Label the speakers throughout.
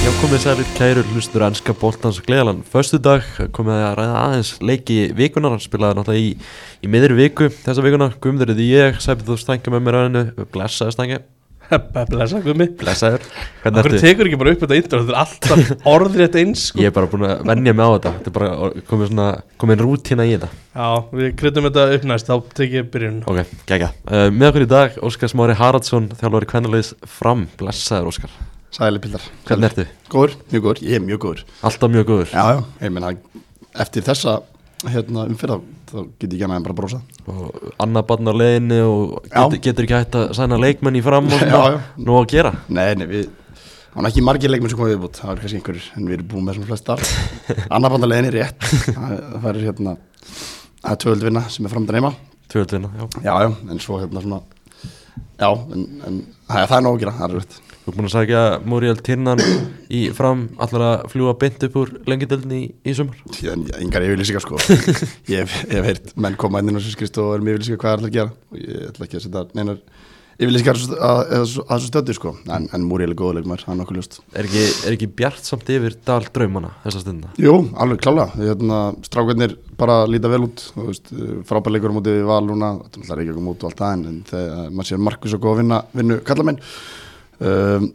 Speaker 1: Já, komið sælir kæru hlustur Anska Bóltans og Gleðalan Föstu dag komið að ræða aðeins leiki vikunar Hann spilaði náttúrulega í, í miðri viku þessa vikuna Guðmundur er því ég, sæpið þú stænka með mér aðeinu Blessaður stænka,
Speaker 2: Blessa gummi
Speaker 1: blessaður Hvernig
Speaker 2: Akkur
Speaker 1: ertu?
Speaker 2: tekur ekki bara upp þetta intro Þetta er alltaf orðrétt eins sko.
Speaker 1: Ég er bara búin að vennja mig á þetta Þetta er bara or- komið svona, komið rútina í þetta
Speaker 2: Já, við kryddum þetta upp næst Þá tek ég byrjun
Speaker 1: Ok, gegja uh, Með okkur í dag, Óskar Smári Haraldsson Þjálfari Kvennulegis fram, blessaður Óskar
Speaker 3: Sæli Pildar
Speaker 1: Hvernig ertu?
Speaker 3: Góður, mjög góður, ég er mjög góður
Speaker 1: Alltaf mjög góður
Speaker 3: Já, já, ég meina eftir þessa hérna, umfyrða þá get ég gæna bara að brosa
Speaker 1: og annað barn á leiðinni og getur,
Speaker 3: Já.
Speaker 1: getur ekki hægt að sæna leikmenn í fram og
Speaker 3: Já,
Speaker 1: svona,
Speaker 3: já.
Speaker 1: nú að gera
Speaker 3: Nei, nei, við Það er ekki margir leikmenn sem komið viðbútt, það er kannski einhverjir, en við erum búin með sem flestar. Annar bandalegin er rétt, það það er hérna, það er tvöldvinna sem er framdann heima.
Speaker 1: Tvöldina, já
Speaker 3: Já, já, en svo hérna svona, já, en, en það er- það er nóg að gera, það er rétt.
Speaker 1: Þú ert búin að sagja Muriel Tinnan í fram allar að fljúa beint upp úr lengjadöldinni í, í sumar
Speaker 3: Síðan, engar yfirlýsingar sko Ég hef, ég hef heyrt menn koma inn og sem skrist og erum yfirlýsingar hvað er alltaf að gera og ég ætla ekki að setja neinar yfirlýsingar að, að, að þessu stöddu sko en, en Múri er góðuleik maður, hann er okkur ljóst
Speaker 1: Er ekki, er ekki bjart samt yfir dal draumana þessa stundina?
Speaker 3: Jú, alveg klála, hérna, strákarnir bara líta vel út þú veist, frábær leikur á móti við val núna, þetta er alltaf ekki okkur mót og allt það en, en þegar maður sér Markus og góð að vinna vinnu kallamenn um,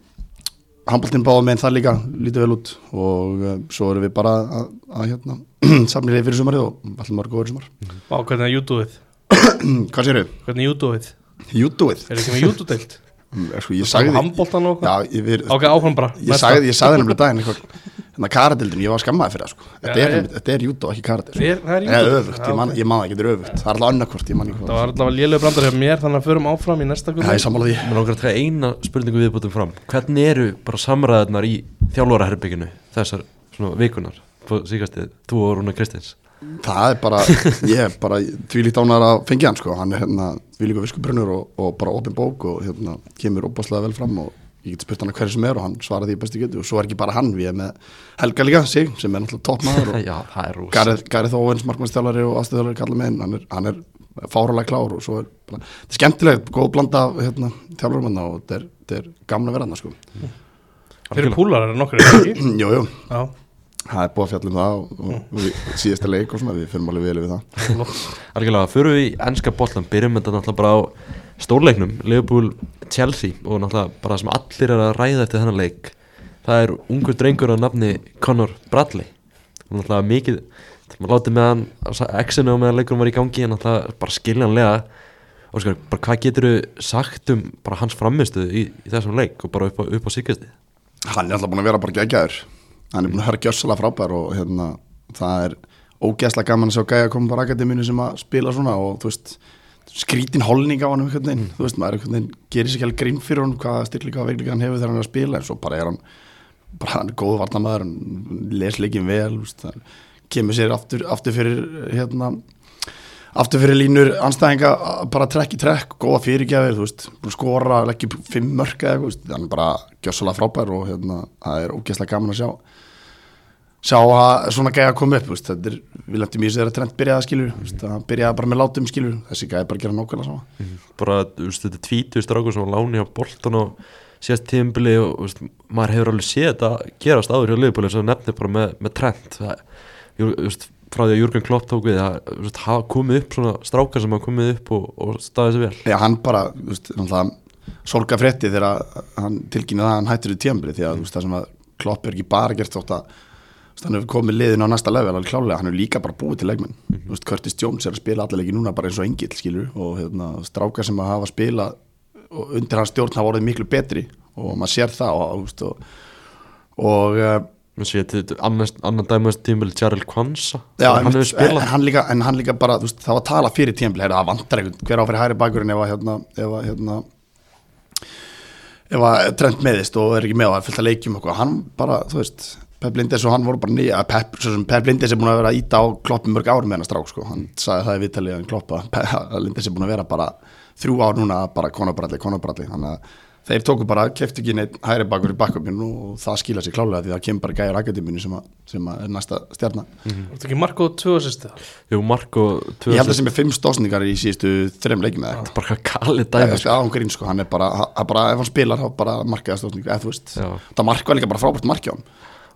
Speaker 3: Hamboltinn báða með það líka lítið vel út og uh, svo erum við bara að, að hérna, samla í leið fyrir sumarið og alltaf mörg góður sumar
Speaker 2: Á hvernig er YouTube-ið
Speaker 3: Hvað séru?
Speaker 2: Hvernig er YouTube-ið
Speaker 3: YouTube-ið?
Speaker 2: Er ekki með YouTube-deilt
Speaker 3: Mm, sko, Ég sagði því
Speaker 2: Hamboltan og
Speaker 3: Já,
Speaker 2: okkur
Speaker 3: ég, við,
Speaker 2: Ok, áfram bara
Speaker 3: ég
Speaker 2: Næsta.
Speaker 3: sagði, ég sagði nefnilega daginn eitthvað Þannig að karadildin, ég var skammaði fyrir það sko. Þetta
Speaker 2: Já,
Speaker 3: er,
Speaker 2: ég-
Speaker 3: einmitt- þetta er jútó, ekki karadil
Speaker 2: Er- Það er
Speaker 3: Eða
Speaker 2: YouTube
Speaker 3: öfugt, ég man, ég man það ekki, þetta er öfugt Það er alltaf annarkvort, ég man ekki
Speaker 2: Það
Speaker 3: hvað
Speaker 2: var allavega lélög brandar hjá mér Þannig að förum áfram í næsta
Speaker 3: Það
Speaker 2: gummi
Speaker 3: er sammála því
Speaker 1: Mér langar að taka eina spurningu viðbútum fram Hvernig eru bara samræðarnar í þjálfaraherbygginu þessar svona vikunar? Sýkastið, þú og Rúna Kristins
Speaker 3: Það er bara, ég er bara því líkt ánar að fengja hann sko Hann er hérna, því líka viskubrunur og, og bara opin bók og hérna, kemur opaslega vel fram og ég get spurt hann að hverju sem er og hann svarar því bestu getur og svo er ekki bara hann, við erum með Helga líka, sig, sem er náttúrulega toppmaður og
Speaker 1: Já, það er rosa
Speaker 3: Gareth Gareth Owens, markmannstjálari og aðstöðalari kallar með hann, er- hann er fáralega klár og svo er bara, þetta er skemmtilegt, góð blanda af, hérna, þjálfurum hann og þetta er, þetta er gamla verðan sko.
Speaker 2: Þeir eru púlarar nokkur er það ekki?
Speaker 3: Jú, jú,
Speaker 2: Já
Speaker 3: það er búið að fjalla um það og, og við, síðasta leik og svona, við fyrir alveg vel við það.
Speaker 1: Algjörlega, fyrir við í ennska bollan byrjum þetta náttúrulega bara á stórleiknum Liverpool Chelsea og náttúrulega bara það sem allir er að ræða eftir þennan leik það er ungur drengur á nafni Connor Bradley og náttúrulega mikið maður láti með hann á sa- exinu og meðan leikurum var í gangi en náttúrulega bara skiljanlega og skar, bara hvað getur þú sagt um bara hans framistuð í, í þessum leik og bara upp á, upp á síkastið
Speaker 3: Hann er alltaf búin að vera bara geggjaður, hann er búin að höra gjössalega frábær og hérna, það er ógeðslega gaman að sjá gæja að koma bara akademínu sem að spila svona og þú veist, skrítin holning á hann um einhvern veginn, þú veist, maður einhvern veginn gerir sér ekki alveg grinn fyrir hann hvaða styrleika og veikleika hann hefur þegar hann er að spila en svo bara er hann bara hann er góð varnamæður, hann les leikin vel, úst, hann kemur sér aftur, aftur fyrir hérna, aftur fyrir línur anstæðinga a- bara trekk í trekk, góða fyrirgjafir þú veist, búin að skora, leggja upp fimm mörk eða, eitthvað, þú veist, hann er bara gjössalega frábær og hérna, það er ógeðslega gaman að sjá sjá að svona gæja að koma upp þú veist, þetta er, við lentum í þessu þegar trend byrjaði að skilur, veist, að hann byrjaði bara með látum skilur þessi gæja er bara að gera nákvæmlega sama
Speaker 1: bara, þú veist, þetta tvítu strákur sem var á láni á boltan og síðast tímbili og þú veist, maður hefur alveg séð þetta gerast áður hjá liðbúli sem þú nefnir bara með, með trend það, jú- þú veist, frá því að Jürgen Klopp tók við það þú veist, hafa komið upp svona strákar sem hafa komið upp og, og staðið sér vel
Speaker 3: Já, hann bara, þú veist, náttúrulega sorga frétti þegar hann tilkynna það að hann hættur í tíambili því að, þú veist, það sem að Klopp er ekki bara gert þótt að þú veist, hann hefur komið liðin á næsta level alveg klálega, hann hefur líka bara búið til leikmenn þú veist, Curtis Jones er að spila alla leiki núna bara eins og engill, skilur, og hérna, strákar sem að hafa spila og undir hans stjórn hafa orðið miklu betri og maður sér það og, þú veist, og, og eh,
Speaker 1: Þú sé, þetta er annars- annan dæmaðast tímbili Jarrell Kwanza
Speaker 3: Já,
Speaker 1: hann
Speaker 3: einmitt,
Speaker 1: hefur spilað
Speaker 3: en hann líka, en hann líka bara, þú veist, það var að tala fyrir tímpil heyrðu, það vantar einhvern, hver á fyrir hæri bakurinn ef að, hérna, ef að, hérna ef að trend meðist og er ekki með og það er fullt að leikjum og eitthvað, hann bara, þú veist Pep Lindis og hann voru bara nýja Pep, svo sem Pep Lindis er búin að vera að íta á kloppi mörg ár með hennar strák, sko, hann sagði það í viðtalið hann kloppa, Pep Lindis er búin að vera bara þrjú ár núna, bara konabralli, konabralli þannig að þeir tóku bara, kefti ekki neitt hæri bakur í bakkupinu og það skila sér klálega því það kemur bara gæjar akademínu sem, að- sem að er næsta stjarnar.
Speaker 2: Þú ert ekki Marko 2 sýsti
Speaker 1: Jú, Marko
Speaker 3: Eh, Ég held að
Speaker 1: 2000
Speaker 3: sem er fimm stóðsningar í síðustu þreim leikum eða eitthvað.
Speaker 1: Bara hvað kalið
Speaker 3: Það
Speaker 1: dæmi
Speaker 3: er án grín sko, hann er bara, hann bara ef hann spilar þá bara markaða stóðsningar, eða þú veist.
Speaker 1: Já.
Speaker 3: Það mark var líka bara frábært marki á hann.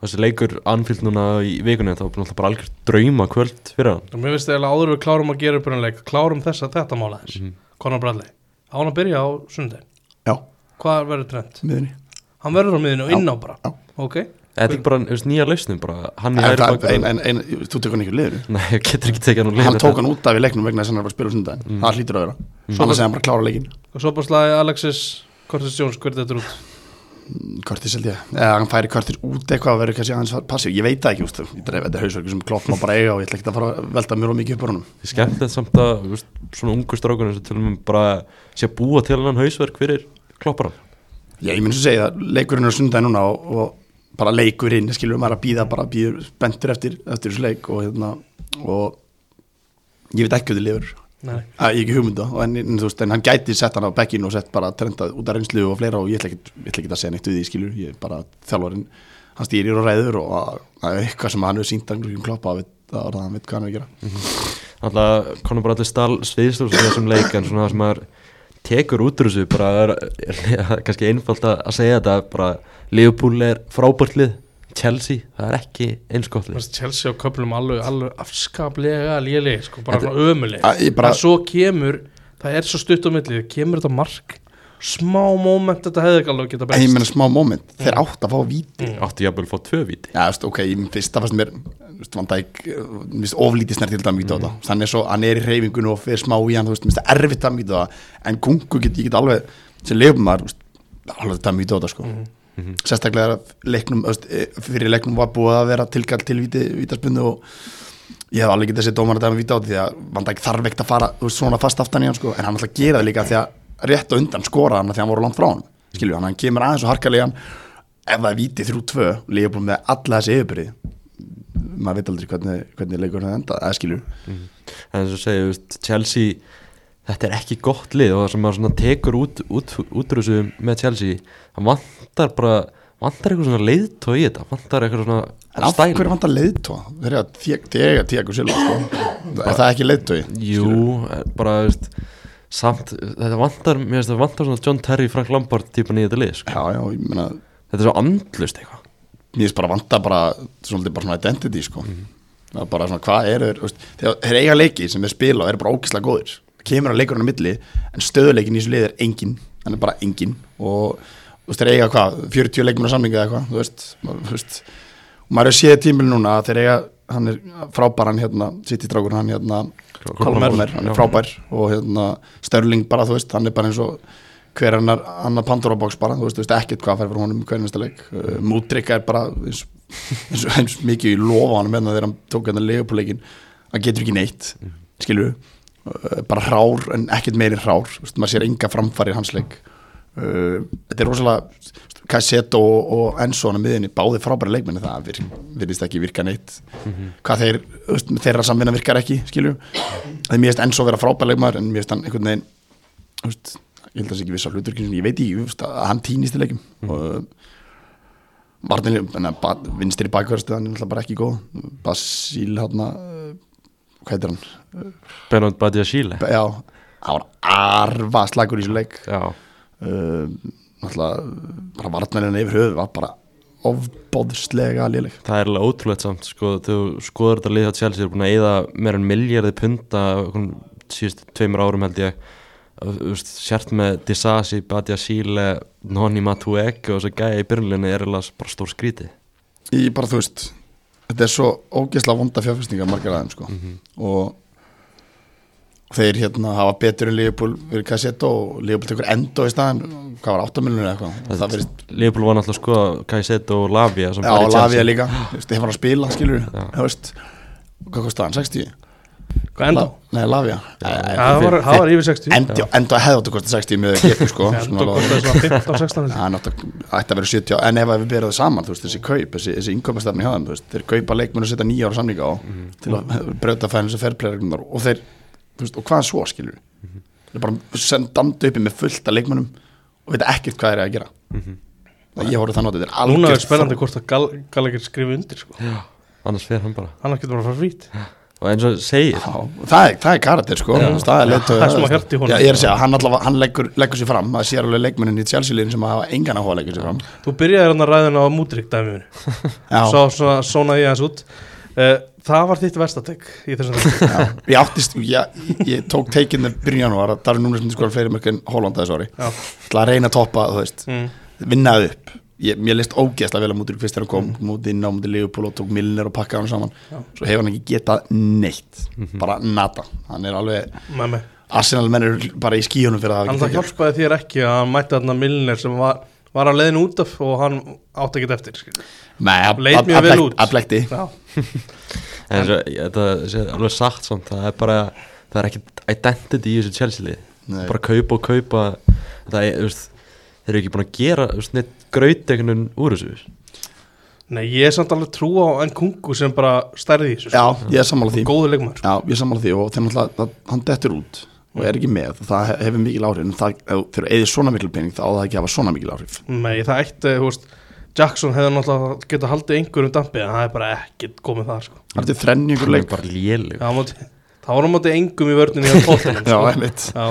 Speaker 1: Þessi leikur anfylg núna í vikunni Það var náttúrulega bara algjör drauma kvöld fyrir hann
Speaker 2: Mér finnst eiginlega áður en við klárum að gera upp hérna leik Klárum þess að þetta mála þess
Speaker 3: Mhm.
Speaker 2: Conor Bradley Á hann að byrja á sundin
Speaker 3: Já,
Speaker 2: Hvað verður trend?
Speaker 3: miðunni.
Speaker 2: Hann verður á miðinu og inn á bara
Speaker 3: Já.
Speaker 2: Ok
Speaker 1: Þetta er ekki bara þú veist, nýja lausnum bara Hann í
Speaker 3: En,
Speaker 1: hæri
Speaker 3: það-
Speaker 1: bakur
Speaker 3: en, en, en þú tekur hann ekki úr liðinu.
Speaker 1: Nei, ég getur ekki tekið hann úr
Speaker 3: Hann
Speaker 1: liðinu Mm.
Speaker 3: tók hann út af í leiknum vegna þess að hann var að spila á sundaginn. Það hlýtur að vera. Annars er hann bara að klára leikin.
Speaker 2: Og svo bara slæði Alexis Curtis Jones Hvernig þetta er út
Speaker 3: Curtis held ég, eða hann færi Curtis út eitthvað að vera kannski aðeins passív, ég veit það ekki úst, ég dreif, þetta er hausverku sem klopp má bara eiga og ég ætla ekki að fara að velta mjög mikið upp á honum
Speaker 1: Ég skemmt þetta samt að þú veist, svona ungu strákunum sem tölum um bara sé að búa til hann hausverk fyrir klopparan
Speaker 3: Já, ég minn svo segja að leikurinn er sundag núna og, og bara leikurinn, skilur maður að býða bara býður bentur eftir, eftir þessu leik og hérna og ég veit ekki hvað þið lifur
Speaker 2: Nei
Speaker 3: að ég hef ekki hugmynda, en, en, þú veist, en hann gæti sett hann á bekkinu og sett bara trendað út af reynslu og fleira og ég ætla ekki, ég ætla ekki að segja neitt við því skilur, ég er bara þjálfarinn hann stýrir og ræður og að- það er eitthvað sem hann hefur sínt að kloppa að, að, að hann veit hvað hann er að gera
Speaker 1: Alltaf konum bara allir stál sviðslur sem þessum leik en svona það sem maður tekur út úr þessu bara er, er, er kannski einfalt að, að segja þetta bara Liverpool er frábært lið Chelsea, það er ekki einskott lið
Speaker 2: Mér finnst Chelsea á köflum alveg, alveg afskaplega léleg sko, bara
Speaker 1: Þetta-
Speaker 2: svona ömuleg
Speaker 3: Að ég bara-
Speaker 2: en svo kemur, það er svo stutt á milli kemur þetta mark smá moment þetta hefði ekki alveg geta
Speaker 3: En ég
Speaker 2: best
Speaker 3: meina smá moment, þeir átt að fá víti
Speaker 1: Áttu jafnvel að fá tvö víti
Speaker 3: Já, veist, ok, ég finnst það fannst mér veist, Van Dijk, eh, mér finnst oflítið snert til það mítið á það, hann er svo, hann er í reyfingun og fyrir smá í hann, þú veist, mér finnst það erfitt að mítið á það en Gungu get, ég get alveg sem lefum maður, veist, alveg það mítið á það sko. sérstaklega að leiknum, veist, eh, fyrir leiknum var búið að vera tilkall til víti, vítaspunni og ég hef alveg getið þessi dómar að dæma víti á það því að Van Dijk þarf ekkert að fara þú veist, svona fast aftan í hann sko, en hann alltaf gera það líka því að rétt á undan skora hann af því að hann voru langt frá hann skilju, hann, hann kemur aðeins og harkalega hann ef það er víti þrjú tvö, líka búin með alla þessi yfirbyrði maður veit aldrei hvernig, hvernig leikur hann enda, eða skilju
Speaker 1: en þess að segja, þú veist, Chelsea þetta er ekki gott lið og það sem maður svona tekur út, út, út úr þessu með Chelsea, það vantar bara vantar eitthvað svona leiðtói í þetta vantar eitthvað
Speaker 3: en
Speaker 1: svona
Speaker 3: af hverju vantar leiðtóa, þeir eru að tega tega og silva, sko, er það ekki leiðtói
Speaker 1: Jú, en bara, þú veist samt, þetta vantar, mér finnst það vantar svona John Terry, Frank Lampard típan í þetta lið sko.
Speaker 3: já, já, ég meina
Speaker 1: þetta er svo andlust eitthvað
Speaker 3: mér finnst bara vanta bara svolítið bara svona identity sko það er bara svona hvað eru þeir þú veist, þegar þeir eiga leiki sem þeir spila og eru bara ókislega góðir kemur að leikurinn á milli en stöðuleikin í þessu lið er engin hann er bara engin og þú veist, þeir eiga hvað 40 leikmenn á samlinga eða eitthvað þú veist, maður, þú veist og maður er séð tímil núna að þeir eiga hann er frábær hann hérna sitt í drákur hann hérna
Speaker 1: Colin
Speaker 3: Kolmer, hann
Speaker 1: já.
Speaker 3: er frábær og hérna Störling bara þú veist hann er bara eins og hver annar, annar Pandora-box bara, þú veist, þú veist ekkert hvað fær fyrir honum í hverjum næsta leik, uh, Mútrykka er bara eins, eins, og- eins mikið í lofa hann meðan þegar hann tók hann að lega upp leikin hann getur ekki neitt, skilju uh, bara hrár en ekkert meiri hrár þú veist, maður sér enga framfari í hans leik uh, þetta er rosalega Kasset og, og Enson á miðinni báði frábæri leikmenni, það vir, virðist ekki virka neitt hvað þeir, þú veist, þeirra samvinna virkar ekki, skilju það mér finnst Enso vera frábæri leikmaður en mér finnst hann einhvern veginn þú veist, ég held að það sé ekki viss á hluturkinu ég veit ekki, þú veist, að hann týnist í leikum mm. og vartinlega, þannig að ba- vinstri bakverðstu hann er náttúrulega bara ekki góð Basíl hann hvað heitir hann,
Speaker 1: Bernard Badia Chile
Speaker 3: Be- já hann var arva slagur í þessu leik
Speaker 1: Já,
Speaker 3: uh, náttúrulega bara vartmennina yfir höfu var bara ofbóðslega léleg
Speaker 1: það er alveg ótrúlegt samt sko, þegar þú skoður þetta lið á Chelsea er búin að eyða meira en miljardi punta síðust tveimur árum held ég Þú veist, sért með Disasi, Badia Chile Noni Matueke og þess að gæja í byrjunleginni er alveg bara stór skríti
Speaker 3: ég bara þú veist þetta er svo ógeðslega vonda fjárfæstingar margar aðeim sko og þeir hérna hafa betur en Leopold verið kassett og Leopold tekur endó í staðan hvað var 8 miljonir eitthvað og það verið
Speaker 1: Leopold var náttúrulega sko Kajseto og Lavia sem
Speaker 3: já
Speaker 1: bara í
Speaker 3: og
Speaker 1: Chelsea.
Speaker 3: lafið líka þú veist þeir fara að spila skilur þú veist hvað kostaði hann 60
Speaker 2: Hvað enda?
Speaker 3: La- nei lafið
Speaker 2: Það var, það var yfir 60
Speaker 3: endó hefði átt að kosta 60 með getur sko
Speaker 2: Enda
Speaker 3: svona
Speaker 2: og kostaði
Speaker 3: lofað.
Speaker 2: svona 15-16
Speaker 3: Það er náttúrulega, ætti að vera 70 ár, en ef að við berum það saman, þú veist, þessi kaup, þessi, þessi innkaupastefni hjá þeim, þú veist, þeir kaupa leikmenn og setja nýja ára samlinga á til að breyta fæðin sem ferðplegarreglunar og þeir, þú veist, og hvað svo skilur við? Þeir bara sendandi uppi með fullt af leikmennum og og veit ekkert hvað er að gera ég horfði þannig á þetta, þetta er
Speaker 2: Núna er
Speaker 3: algjört
Speaker 2: spennandi hvort að Gal Gallagher skrifi undir sko.
Speaker 1: annars fer hann bara
Speaker 2: annars getur maður að fara frít
Speaker 1: og eins og segir
Speaker 3: Já, það er, það er karakter sko það er leitt
Speaker 2: Það er smá hjart í honum.
Speaker 3: ég er að segja, hann, allavega, hann leggur, leggur sér fram það sér alveg leikmennin í Chelsea-liðin sem hafa engan áhuga að leggja sér fram
Speaker 2: Þú byrjaði hann að ræðina á mútrík dæmiðinu
Speaker 3: já,
Speaker 2: Svo svona, svonaði ég hans út uh, Það var þitt vestatek í þessum leik.
Speaker 3: já, ég áttist ég, ég tók teikinn byrjun janúar að það eru núna sem skoðar fleiri mörg en Holland þessu ári
Speaker 2: Já.
Speaker 3: ætla að reyna að toppa, þú veist
Speaker 2: mm.
Speaker 3: vinna upp ég, mér leist ógeðslega vel að mútur fyrst þegar hann kom múti inn á múti Leopold og tók Milner og pakkaði hann saman
Speaker 2: Já.
Speaker 3: svo hefur hann ekki getað neitt bara nata, hann er alveg
Speaker 2: Með mig
Speaker 3: Arsenal menn eru bara í skíunum fyrir að hafa
Speaker 2: Hann
Speaker 3: ekki
Speaker 2: það
Speaker 3: tekið.
Speaker 2: hjálpaði þér ekki að hann mætti hann að Milner sem var, var á leiðin út af og hann átti ekki eftir skilur.
Speaker 3: Nei, að-
Speaker 2: Leit
Speaker 3: að-
Speaker 2: mjög
Speaker 3: að
Speaker 2: vel
Speaker 3: blekk-
Speaker 2: út.
Speaker 3: að blekti
Speaker 2: Já,
Speaker 1: En svo, ég, þetta sé alveg sagt samt, það er bara, það er ekkert identity í þessu Chelsea lið
Speaker 3: Nei.
Speaker 1: Bara kaupa og kaupa, það er, þú veist, þeir eru ekki búin að gera, þú veist, neitt graut einhvern veginn úr þessu þú veist.
Speaker 2: Nei, ég er samt alveg trú á enn kungu sem bara stærði í þessu
Speaker 3: Já, ég er sammála því
Speaker 2: Góðu leikmaður sko.
Speaker 3: Já, ég er sammála því og þannig að það- hann dettur út og er ekki með, það he- hefur mikil áhrif en það, ef þeir eru eðið svona mikil pening þá á það ekki að hafa svona mikil áhrif
Speaker 2: Nei, það eitt, eh, þú veist Jackson hefði náttúrulega getað haldið einhverjum dampi en það er bara ekkert komið það sko.
Speaker 3: Það er til þrenni ykkur
Speaker 1: Hann er
Speaker 3: leik
Speaker 1: bara léleg,
Speaker 2: Já, á móti, Það var á móti engum í vörninni á tóttunum
Speaker 3: Já,
Speaker 2: sko.
Speaker 3: einmitt
Speaker 2: Já,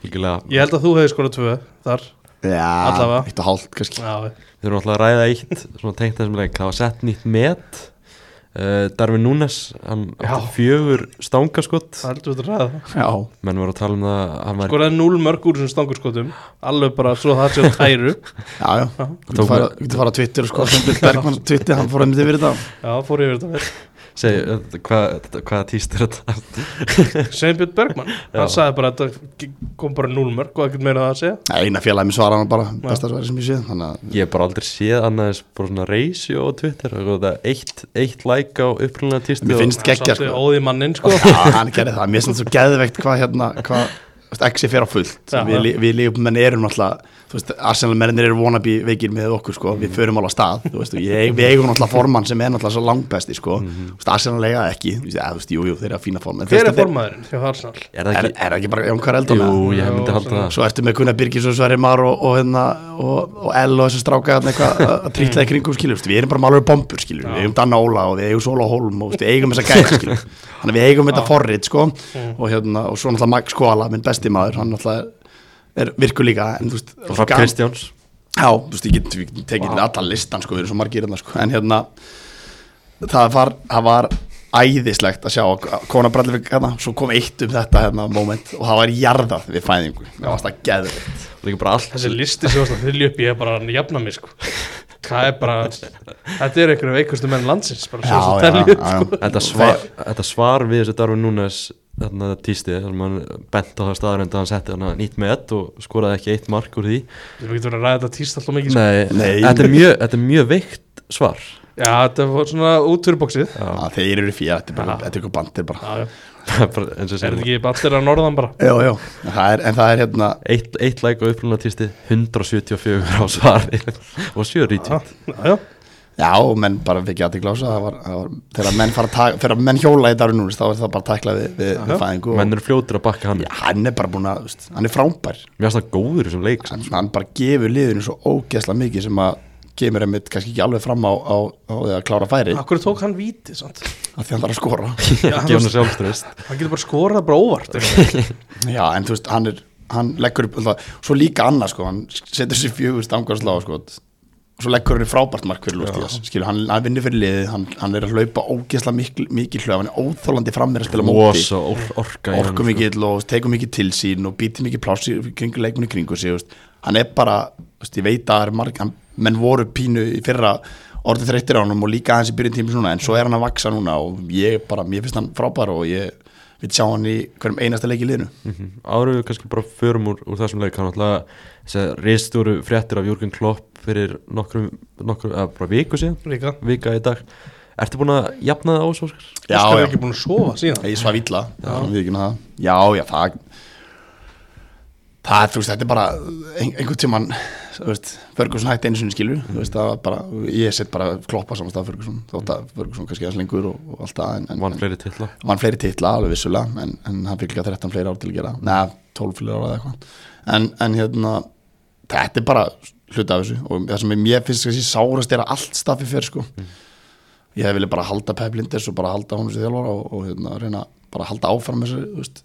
Speaker 1: algjörlega,
Speaker 2: ég held að þú hefði skorað tvö þar
Speaker 3: Já,
Speaker 2: Allavega.
Speaker 3: eitt og hálft kannski
Speaker 2: Já,
Speaker 1: þeir eru alltaf að ræða eitt, svona tengt þessum leik, það var sett nýtt met uh, Darvin Núnes, hann átti fjögur stangaskott
Speaker 2: það heldur við að ræða það
Speaker 3: Já,
Speaker 1: Menn voru að tala um það, að hann var,
Speaker 2: Skoraði núl mörg úr þessum stangurskotum Alveg bara svo það sé á tæru
Speaker 3: já, já
Speaker 2: Já.
Speaker 3: Þú getur fara- þú getur farað á Twitter og sko sem Bill Bergman á Twitter, hann fór einmitt yfir þetta
Speaker 2: Já, fór yfir þetta vel
Speaker 1: segi, uh, hvað, hvað týst er þetta?
Speaker 2: Sveinbjörn Bergman, hann sagði bara að þetta kom bara núl mörg og ekkert meira að það að segja
Speaker 3: Nei, eina félagi mér svara hann bara, besta svari sem ég sé Þannig að
Speaker 1: Ég hef bara aldrei séð annaðis bara svona reysi á Twitter og það er eitt, eitt like á upprunlega týstu
Speaker 3: Mér finnst geggja
Speaker 2: Svolítið
Speaker 3: sko
Speaker 2: óði mannin sko
Speaker 3: Já, hann gerði það, mér finnst það svo geðveikt hvað hérna, hvað þú veist, Exi fer á fullt
Speaker 2: Já,
Speaker 3: við,
Speaker 2: já.
Speaker 3: lí- við lífum menn erum náttúrulega þú veist, Arsenal mennir eru wannabe veikir með okkur sko, við förum alveg á stað þú veist, og ég, við eigum náttúrulega formann sem er náttúrulega svo langbesti sko, þú veist, Arsenal eiga það ekki þú veist, eða, þú veist, jú, jú, þeir eru að fína form en þú
Speaker 2: Hver
Speaker 3: veist,
Speaker 2: er
Speaker 3: þetta
Speaker 2: formaðurinn hjá Arsenal?
Speaker 1: Er það
Speaker 3: er,
Speaker 1: ekki?
Speaker 3: er það ekki bara Jón Kar Eldon
Speaker 1: Jú,
Speaker 3: eða?
Speaker 1: ég myndi halda það
Speaker 3: svo ertu með Gunnar Birgis og Sverri Mar og, og, hérna, og, og L og þessu stráka þarna eitthvað að- að trýtla í kringum skilur við erum bara málur bombur skilur, við eigum Danna Óla og við eigum Sóla Holm og þú veist, við eigum þessa gæða skilur þannig að við eigum þetta forrið sko og, hérna, og svo náttúrulega Mike Skóla, minn besti maður hann náttúrulega er virku líka en þú veist,
Speaker 1: Og Rapp
Speaker 3: gam-
Speaker 1: Kristjáns
Speaker 3: Já, þú veist, ég get, ég get tekið wow. allan listan, sko, við erum svo margir hérna, sko, en hérna, það var, það var æðislegt að sjá að kona Brallivik hérna, svo kom eitt um þetta hérna moment og það var jarðað við fæðingu, það var alltaf geðvikt.
Speaker 1: og líka bara allt
Speaker 2: Þessi listi sem varst að þylja upp ég er bara að jafna mig sko Það er bara Þetta er einhverju veikustu menn landsins bara, svo sem telja upp, sko.
Speaker 1: Þetta svar, þetta svar við þessu darfi núnes þarna týsti þar sem hann bent á það staðarönda hann setti hann nýtt met og skoraði ekki eitt mark úr því
Speaker 2: Við getum verið að ræða þetta týst alltaf mikið sko.
Speaker 1: Nei,
Speaker 3: Nei.
Speaker 1: Þetta, er mjög, þetta er mjög veikt svar
Speaker 2: Já, þetta var svona útfyrirboksið
Speaker 1: Já,
Speaker 3: Já, þeir eru fyrir, þetta er bara, þetta er eitthvað bandir bara.
Speaker 2: Já, já.
Speaker 1: það er bara eins og
Speaker 2: Er
Speaker 1: segir
Speaker 2: þetta
Speaker 1: hann.
Speaker 2: ekki allir að norðan bara?
Speaker 3: Já, já, en það er, en það er hérna,
Speaker 1: Eitt, eitt like á upprunlega týsti 174 á svari og 7
Speaker 2: Já,
Speaker 1: rítjum
Speaker 2: já, já.
Speaker 3: já, og menn bara fikk ég að til glása, það var, það var, þegar menn fara að taka, þegar menn hjóla í daru núna, þá er það bara tæklað við, við, við fæðingu og
Speaker 1: Menn eru fljótur að bakka hann
Speaker 3: Já, hann er bara búin að, þú veist, hann er frámbær.
Speaker 1: Mér finnst það góður í þessum leik sko.
Speaker 3: hann, hann bara gefur liðinu svo ógeðslega mikið sem að kemur einmitt kannski ekki alveg fram á, á, á því að klára færi
Speaker 2: Akkur tók hann víti sant?
Speaker 3: að því hann þarf að skora
Speaker 2: Já,
Speaker 1: Gefa hann sjálfströst
Speaker 2: Hann getur bara skorað bara óvart einhvern veginn.
Speaker 3: já en þú veist hann er hann leggur upp alltaf, svo líka annað sko hann setur sér fjögur stangar slá sko svo leggur hann í frábært mark fyrir Lústíðas skilur hann, hann vinnur fyrir liðið hann, hann er að hlaupa ógeðslega mikil, mikil hlöf hann er óþólandi fram með að spila á móti
Speaker 1: Losa or, orka í honum, sko.
Speaker 2: sko.
Speaker 3: orku mikill og tekur mikið til sín og býtir mikið pláss í kringu leikmenni kringu sig, þú veist. hann er bara, þú veist, ég veit að það er marg, hann, menn voru pínu í fyrra orðið þreyttir á hann og líka aðeins í byrjun tími svona, en svo er hann að vaksa núna og ég bara, mér finnst hann frábær og ég vil sjá hann í hverjum einasta leik í liðinu
Speaker 1: Mhm. Áður en við kannski bara förum úr, úr þessum leik hann alltaf þessi reistúru fréttir af Jürgen Klopp fyrir nokkrum, nokkrum eða bara viku síðan,
Speaker 2: Líka
Speaker 1: vika í dag Ertu búin að jafna það ás, Óskar?
Speaker 3: Já,
Speaker 2: Það er
Speaker 3: já.
Speaker 2: ekki búin að sofa síðan
Speaker 3: ég svaf illa, þannig við ekki um það já, já, það það, þú veist, þetta er bara ein, einhvern tíman, þú veist, Ferguson hætti einu sinni skilur, þú veist, það var bara ég set bara kloppa saman stað Ferguson þótt að Ferguson kannski aðeins lengur og, og allt það en, en,
Speaker 1: Vann fleiri titla
Speaker 3: vann fleiri titla alveg vissulega en, en hann fikk líka 13 fleiri ár til að gera neða 12 fleiri ár eða eitthvað en, en hérna þetta er bara hluta af þessu og það sem ég finnst kannski sárast er að allt staffi fer sko ég hef vilja bara halda Pep Linders og bara halda hún sem þjálfara og, og hérna, reyna bara halda áfram þessu, þú veist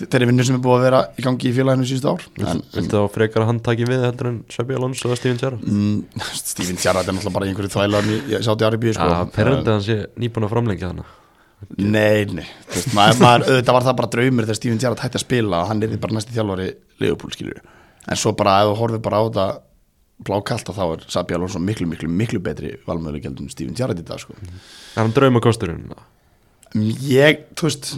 Speaker 3: þeirri vinnu sem er búið að vera í gangi í félaginu síðustu ár en, en
Speaker 1: Viltu þá frekar að hann taki við heldur en Sveppi Alonso eða Steven Gerrard?
Speaker 3: mm, Steven Gerrard er náttúrulega bara í einhverju þvælan í Sáti Arabíu sko.
Speaker 1: Já, perrandi að hann sé nýbúin að framlengja hana
Speaker 3: Nei, nei, þú veist, maður, maður, auðvitað var það bara draumur þegar Steven Gerrard hætti að spila að hann er bara næsti þjálfari Leopold skilur en svo bara ef þú horfir bara á þetta blákalt að þá er Sabi Alonso miklu, miklu, miklu betri valmöðulegjaldum en Steven Gerrard í dag sko.
Speaker 1: Er hann draumakosturinn?
Speaker 3: ég, þú veist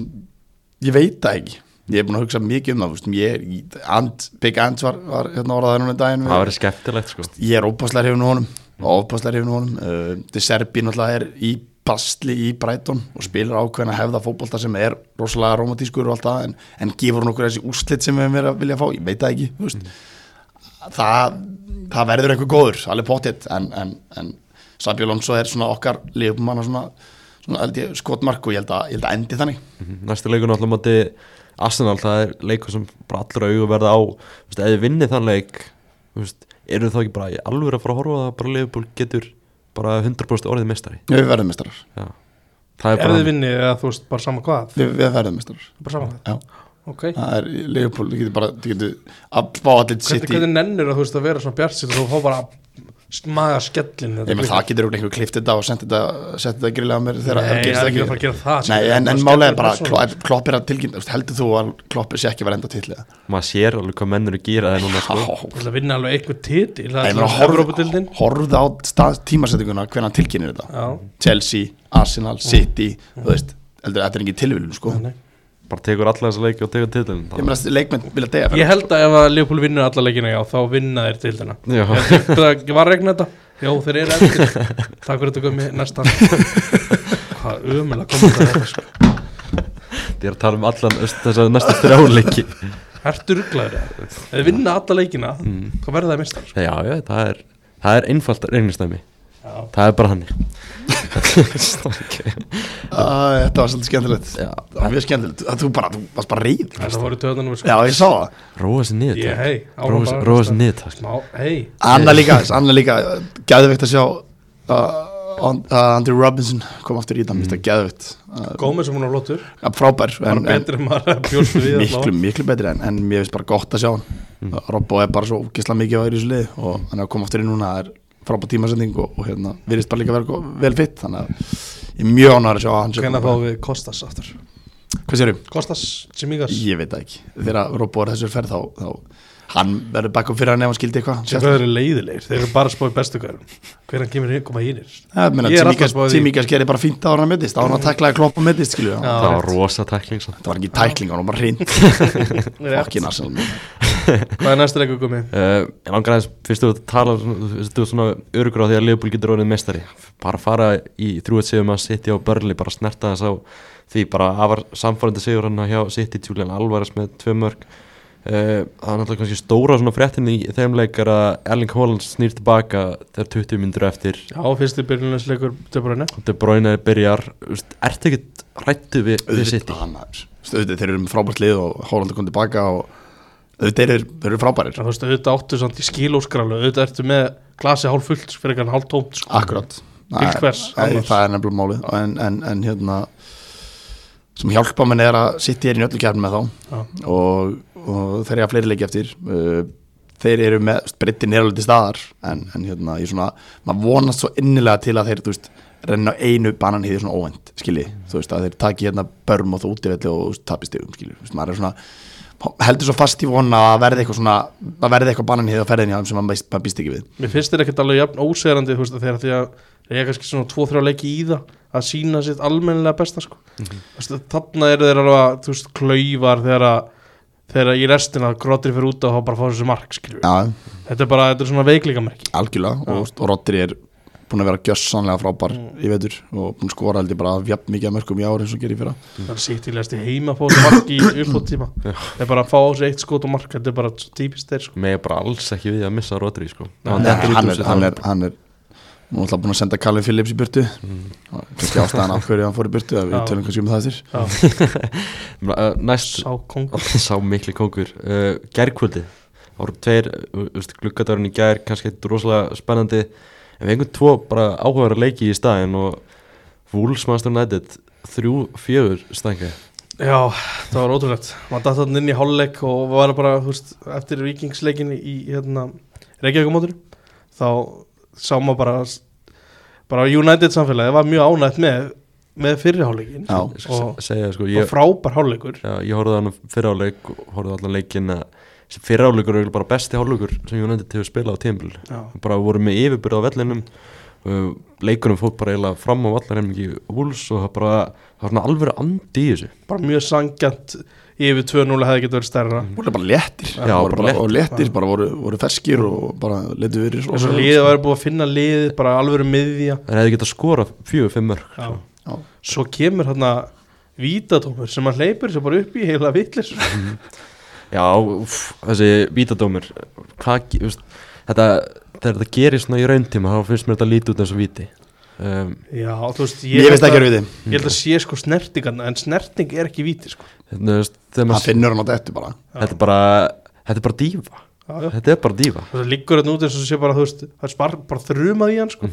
Speaker 3: ég veit það ekki, ég er búin að hugsa mikið um það, þú veist, ég, and, Big Ant var, var hérna orðaði núna daginn
Speaker 1: Það verður skemmtilegt sko
Speaker 3: ég er óbáslega hrifin á honum óbáslega hrifin á honum uh, De Serbi náttúrulega er í bastli í Brighton og spilar ákveðin að hefða fótbolta sem er rosalega romantískur og allt það en, en gefur hún okkur þessi úrslit sem við erum verið að vilja fá ég veit það ekki þú veist. það, það verður einhver góður, alveg pottitt en, en, en Sabi Alonso er svona okkar liðumanna svona, svona held ég, skotmark og ég held, að, ég held að endi þannig
Speaker 1: Næsti leikur náttúrulega mátti Arsenal, það er leikur sem bara allra augu verða á Þú veist, ef þið vinnið þann leik Þú veist, eru þá ekki bara í alvöru að fara að horfa á það að bara Liverpool getur bara 100% orðið mestari
Speaker 3: við verðum mestrar,
Speaker 1: Já. Það er
Speaker 2: Ef
Speaker 1: bara
Speaker 2: þið vinni eða þú veist bara sama hvað
Speaker 3: við, við verðum mestrar
Speaker 2: Bara sama hvað
Speaker 3: já,
Speaker 2: Ok
Speaker 3: það er Leopold, þú getur bara þú getur að fá allir
Speaker 2: Hvernig,
Speaker 3: sitt í
Speaker 2: hvernig nennir að þú veist að vera svona bjart og þú fá bara maga skellin
Speaker 3: Ég menn það getur einhver klift þetta og sendt þetta sett þetta grillega mér þegar
Speaker 2: Nei,
Speaker 3: ef gerist
Speaker 2: það er ekki að fara að gera það,
Speaker 3: Nei,
Speaker 2: skilur, bara
Speaker 3: en, en
Speaker 2: skellur
Speaker 3: málega er bara
Speaker 2: persónu.
Speaker 3: klopp, klopp er að tilkynna heldur þú að klopp sé ekki að vera enda til eða?
Speaker 1: Maður sér alveg hvað menn eru að gera það núna
Speaker 3: Já,
Speaker 1: sko
Speaker 2: Þú ætla að vinna alveg einhver titil Það
Speaker 3: Nei,
Speaker 2: er svona Evrópudildin
Speaker 3: horfðu horfðu á stað, tímasettinguna hvernig hann tilkynir þetta
Speaker 2: Já,
Speaker 3: Chelsea, Arsenal, City þú veist, heldur þetta er ekki tilvílum sko
Speaker 2: nei.
Speaker 1: Bara tekur alla þessa leiki og tekur titlun
Speaker 3: Ég meina að leikmenn vilja deyja fyrir
Speaker 2: Ég held að ef að Leopold vinnur alla leikina já, þá vinna þeir dildina
Speaker 1: Já.
Speaker 2: Það var regna þetta Já, þeir eru eftir Takk fyrir þetta komið næsta Hvað ömulega komið þetta sko.
Speaker 1: Ég er að tala um allan þessar næsta þrjáleiki
Speaker 2: Ertu rugglaður eða? Ef þið vinna alla leikina
Speaker 3: Mm.
Speaker 2: þá verða sko. það mistar
Speaker 1: Já, já, það er, það er einfalt reynistæmi
Speaker 2: Já,
Speaker 1: Það er bara hann okay.
Speaker 3: Æ, Ah, Þetta var svolítið skemmtilegt
Speaker 1: Já.
Speaker 3: Það var mjög skemmtilegt Að Þú bara, þú varst bara reyð
Speaker 2: þetta voru töðanum
Speaker 3: Já,
Speaker 2: sko.
Speaker 3: ég sá það
Speaker 1: Róa sér niður
Speaker 2: Ég,
Speaker 1: takk.
Speaker 2: hei, áfram
Speaker 1: Róa
Speaker 2: bara,
Speaker 1: sér- Róa sér
Speaker 2: stað.
Speaker 1: niður takk.
Speaker 2: Má, hei
Speaker 3: Anna líka, Anna líka Gæðveikt að sjá uh, And- uh, Andrew Robinson kom aftur í það Mér finnst það gæðveikt uh,
Speaker 2: Gómið sem hún á lótur
Speaker 3: ja, Frábær
Speaker 2: Mm. Bara
Speaker 3: en, en,
Speaker 2: betri en maður bjóst við
Speaker 3: Miklu, miklu betri en, en mér finnst bara gott að sjá hann mm. Robbo er bara svo ógisla mikið á í þessu lið Og hann er að koma aftur í núna Það er frábær tímasending og, og hérna Virðist bara líka vera gó- vel fitt Þannig að ég er mjög ánægður að sjá að hann sé
Speaker 2: Hvernig
Speaker 3: kominn.
Speaker 2: fáum við Kostas aftur
Speaker 3: Hvað sérum?
Speaker 2: Kostas Simíkas
Speaker 3: Ég veit það ekki Þegar Robbo er þessur ferð þá, þá Hann verður bakkum fyrir hann ef hann skildi
Speaker 2: Þeir
Speaker 3: eitthvað
Speaker 2: eru leiðilegir, þeir eru bara að spá í bestu hverjum Hvernig kemur hér, koma hínir Ég er alltaf spáð í-
Speaker 3: Tímíkas gerir bara fínt að hann mittist Á hann að taklaði klopp og mittist skilju
Speaker 2: Já,
Speaker 1: Það var
Speaker 2: rétt.
Speaker 1: rosa tækling samt.
Speaker 3: Það var ekki tækling, það var bara hreint
Speaker 2: Rétt.
Speaker 3: Fokkin Arsenal
Speaker 2: Hvað er næsta leikur komið?
Speaker 3: Eh,
Speaker 1: Uh, ég langar aðeins, fyrst þú ert að tala svona- þú veist, þú ert svona örugur á því að Leopold getur orðið mestari bara fara í 3-1 sigur með að sitja á börli, bara snerta þess á því bara afar samfærandi sigur hann hjá City Julian Alvarez með tvö mörg uh, það er náttúrulega kannski stóra svona fréttin í þeim leikar að Erling Haaland snýr tilbaka þegar 20 myndur eftir
Speaker 2: Já, fyrsti byrjunleisleikur Döbrunni
Speaker 1: De Bruyne byrjar, þú veist, ertu ekkert rættu við, við City?
Speaker 3: Stöðuð þeir eru með frábært lið og Hólandi kom tilbaka og auðvitað þeir eru, þeir eru frábærir
Speaker 2: Þú veist, auðvitað áttu samt í skilóskralu auðvitað ertu með glasi hálf fullt fyrir ekki hálf tómt sko.
Speaker 3: Akkurát
Speaker 2: Til hvers
Speaker 3: Það
Speaker 2: annars?
Speaker 3: er nefnilega málið en, en, en hérna sem hjálpa mann er að sitt ég er í öllu kefnum með þá
Speaker 2: Já.
Speaker 3: og, og þeir eru að fleiri leiki eftir uh, þeir eru með breytin er alveg til staðar en, en hérna ég svona, maður vonast svo innilega til að þeir þú veist, renna á einu banan hýði svona óvend skilji, þú veist að þeir taki hérna börm og þú útivelli og þú veist, tapi stigum skilji, þú veist, maður er svona heldur svo fast í vona að verði eitthvað svona að verði eitthvað banan hýði á ferðinni á þeim sem maður býst- maður býst ekki við
Speaker 2: Mér finnst þér ekkert alveg jafn ósegrandi þú veist, þegar því að það er kannski svona 2-3 leiki í það að sína sitt almennilega besta sko. mm -hmm. Þannig eru þeir alveg að þú veist, klaufar þegar að þegar í restina grotri fyrir út og þá bara fá þessu mark skilur.
Speaker 3: Já,
Speaker 2: Þetta er bara, þetta er svona veikleikamerki
Speaker 3: algjörlega og, og Rodri er búin að vera gjössanlega frábær
Speaker 2: Mm.
Speaker 3: í vetur og búin að skora held ég bara jafn mikið að mörgum í ári eins og hann gerir fyrra
Speaker 2: Það er sitt í leiðast í heima að fá þessu mark í uppbóttíma Það er bara að fá þessu eitt skot og mark Þetta er bara svo típist þeir sko
Speaker 1: Mér er bara alls ekki við að missa Rodri sko.
Speaker 3: Nei,
Speaker 1: dettur út úr
Speaker 3: hann,
Speaker 1: þessu
Speaker 3: er, hann,
Speaker 1: þá-
Speaker 3: er, hann er nú alltaf búin að senda Callum Phillips í burtu og kannski ástæðan af hverju hann fór í burtu að við
Speaker 2: Já.
Speaker 3: tölum kannski um það eftir
Speaker 2: Já,
Speaker 1: Uh, Næst
Speaker 2: Sá kongur
Speaker 1: Sá mikli kongur uh, Gerkvöldi Eh, voru tveir, þú veist, gluggadagurinn í gær kannski eitt rosalega spennandi en við einhvern tvo bara áhugaður að leiki í staðin og Wolves Master United þrjú, fjögur stænga
Speaker 2: Já, það var ótrúlegt maður datt þarna inn í hálfleik og var bara þú veist, eftir vikingsleikin í hérna, Reykjavíkumótur þá sá maður bara bara United samfélagi var mjög ánægt með, með fyrirháleikin
Speaker 3: Já.
Speaker 2: og og
Speaker 1: segja sko, ég,
Speaker 2: frábær háleikur
Speaker 1: já, ég horfði á hann fyrra á leik og horfði á allan leikinn að fyrra áleikur er bara besti áleikur sem United hefur spilað á tímbil
Speaker 2: Já,
Speaker 1: bara voru með yfirbyrð á vellinum uh, leikunum fór bara eiginlega fram á vallarheimningi Wolves og það bara það var svona alveg andi í þessu
Speaker 2: bara mjög sangjant yfir 2-0 hefði getið verið stærra
Speaker 3: voru bara léttir
Speaker 1: Já,
Speaker 3: voru
Speaker 1: bara
Speaker 3: bara,
Speaker 1: léttir.
Speaker 3: og léttir, bara voru, voru ferskir og bara letu verið
Speaker 2: eins og liðið var búið að finna liðið bara alvöru miðja
Speaker 1: Það hefði getað skorað fjögur, fimm sko. mörg
Speaker 2: Já.
Speaker 3: Já.
Speaker 2: svo kemur hann að vítatómur sem hann hleypur sem bara upp í heila vitlis
Speaker 1: Já, úff, þessi vítadómur hvað, ge- þú veist, þetta þegar þetta gerir svona í rauntíma þá finnst mér þetta lítið út eins og víti um,
Speaker 2: Já, þú veist,
Speaker 3: Ég veist ekki að við þið
Speaker 2: Ég held að sé sko snertingarna, en snerting er ekki víti sko.
Speaker 1: þetta, hérna, þú veist, þegar
Speaker 3: Það
Speaker 1: maður,
Speaker 3: finnur hann á þetta bara
Speaker 1: þetta er bara þetta er bara dífa,
Speaker 2: Já, já.
Speaker 1: þetta er bara dífa
Speaker 2: Það liggur hérna út eins og sé bara, þú veist, það er spar, bara þrumað í hann sko.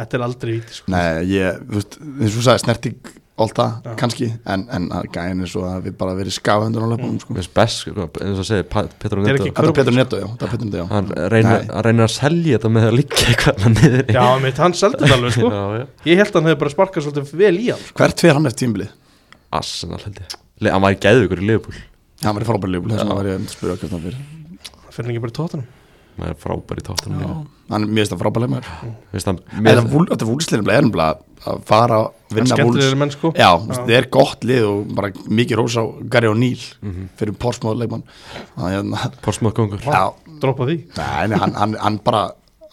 Speaker 2: Þetta er aldrei víti sko.
Speaker 3: Mm. Nei, ég, þú veist, eins og þú sagði snerting alltaf,
Speaker 2: Já.
Speaker 3: kannski en, en að gæðin eins og að við bara verið skafhendur á löpunum, sko
Speaker 1: Mér finnst best, sko, eins og segir Pa- Petru
Speaker 2: Þetta er
Speaker 1: Neto
Speaker 2: ekki-
Speaker 3: Þetta er Petur Netto, já, þetta er Petur Netto, já
Speaker 1: hann reynir,
Speaker 3: Nei.
Speaker 1: hann reynir að selja þetta með að liggja eitthvað hann niður
Speaker 2: Já, mitt, hann seldi þetta alveg sko.
Speaker 1: já, já.
Speaker 2: Ég held að hann hefði bara sparkað svolítið vel í hann sko.
Speaker 3: Hvert fyrir hann eftir tímbilið?
Speaker 1: Arsenal held ég Le hann var í geðvíkur í Liverpool
Speaker 3: Já, hann var í frábæri lífbúl, þess vegna var ég að spyrja hvað það fyrir
Speaker 2: Það sko. fyrir ekki bara í tóttanum
Speaker 1: maður er frábær í tóttunum líka.
Speaker 3: Hann, mér finnst það frábæri maður
Speaker 1: Veist hann,
Speaker 3: Mér...
Speaker 1: mér,
Speaker 3: Þetta vúl- þetta vúlsliðin er nefnilega að fara að
Speaker 2: En
Speaker 3: vinna vúls
Speaker 2: skemmtilegir menn sko.
Speaker 3: Já, það er gott lið og bara mikið rós á Gary O'Neill fyrir Portsmouth leikmann Það er hérna-
Speaker 1: Portsmouth kongur
Speaker 3: Já,
Speaker 2: Droppa því
Speaker 3: Nei, nei, hann, hann, hann bara,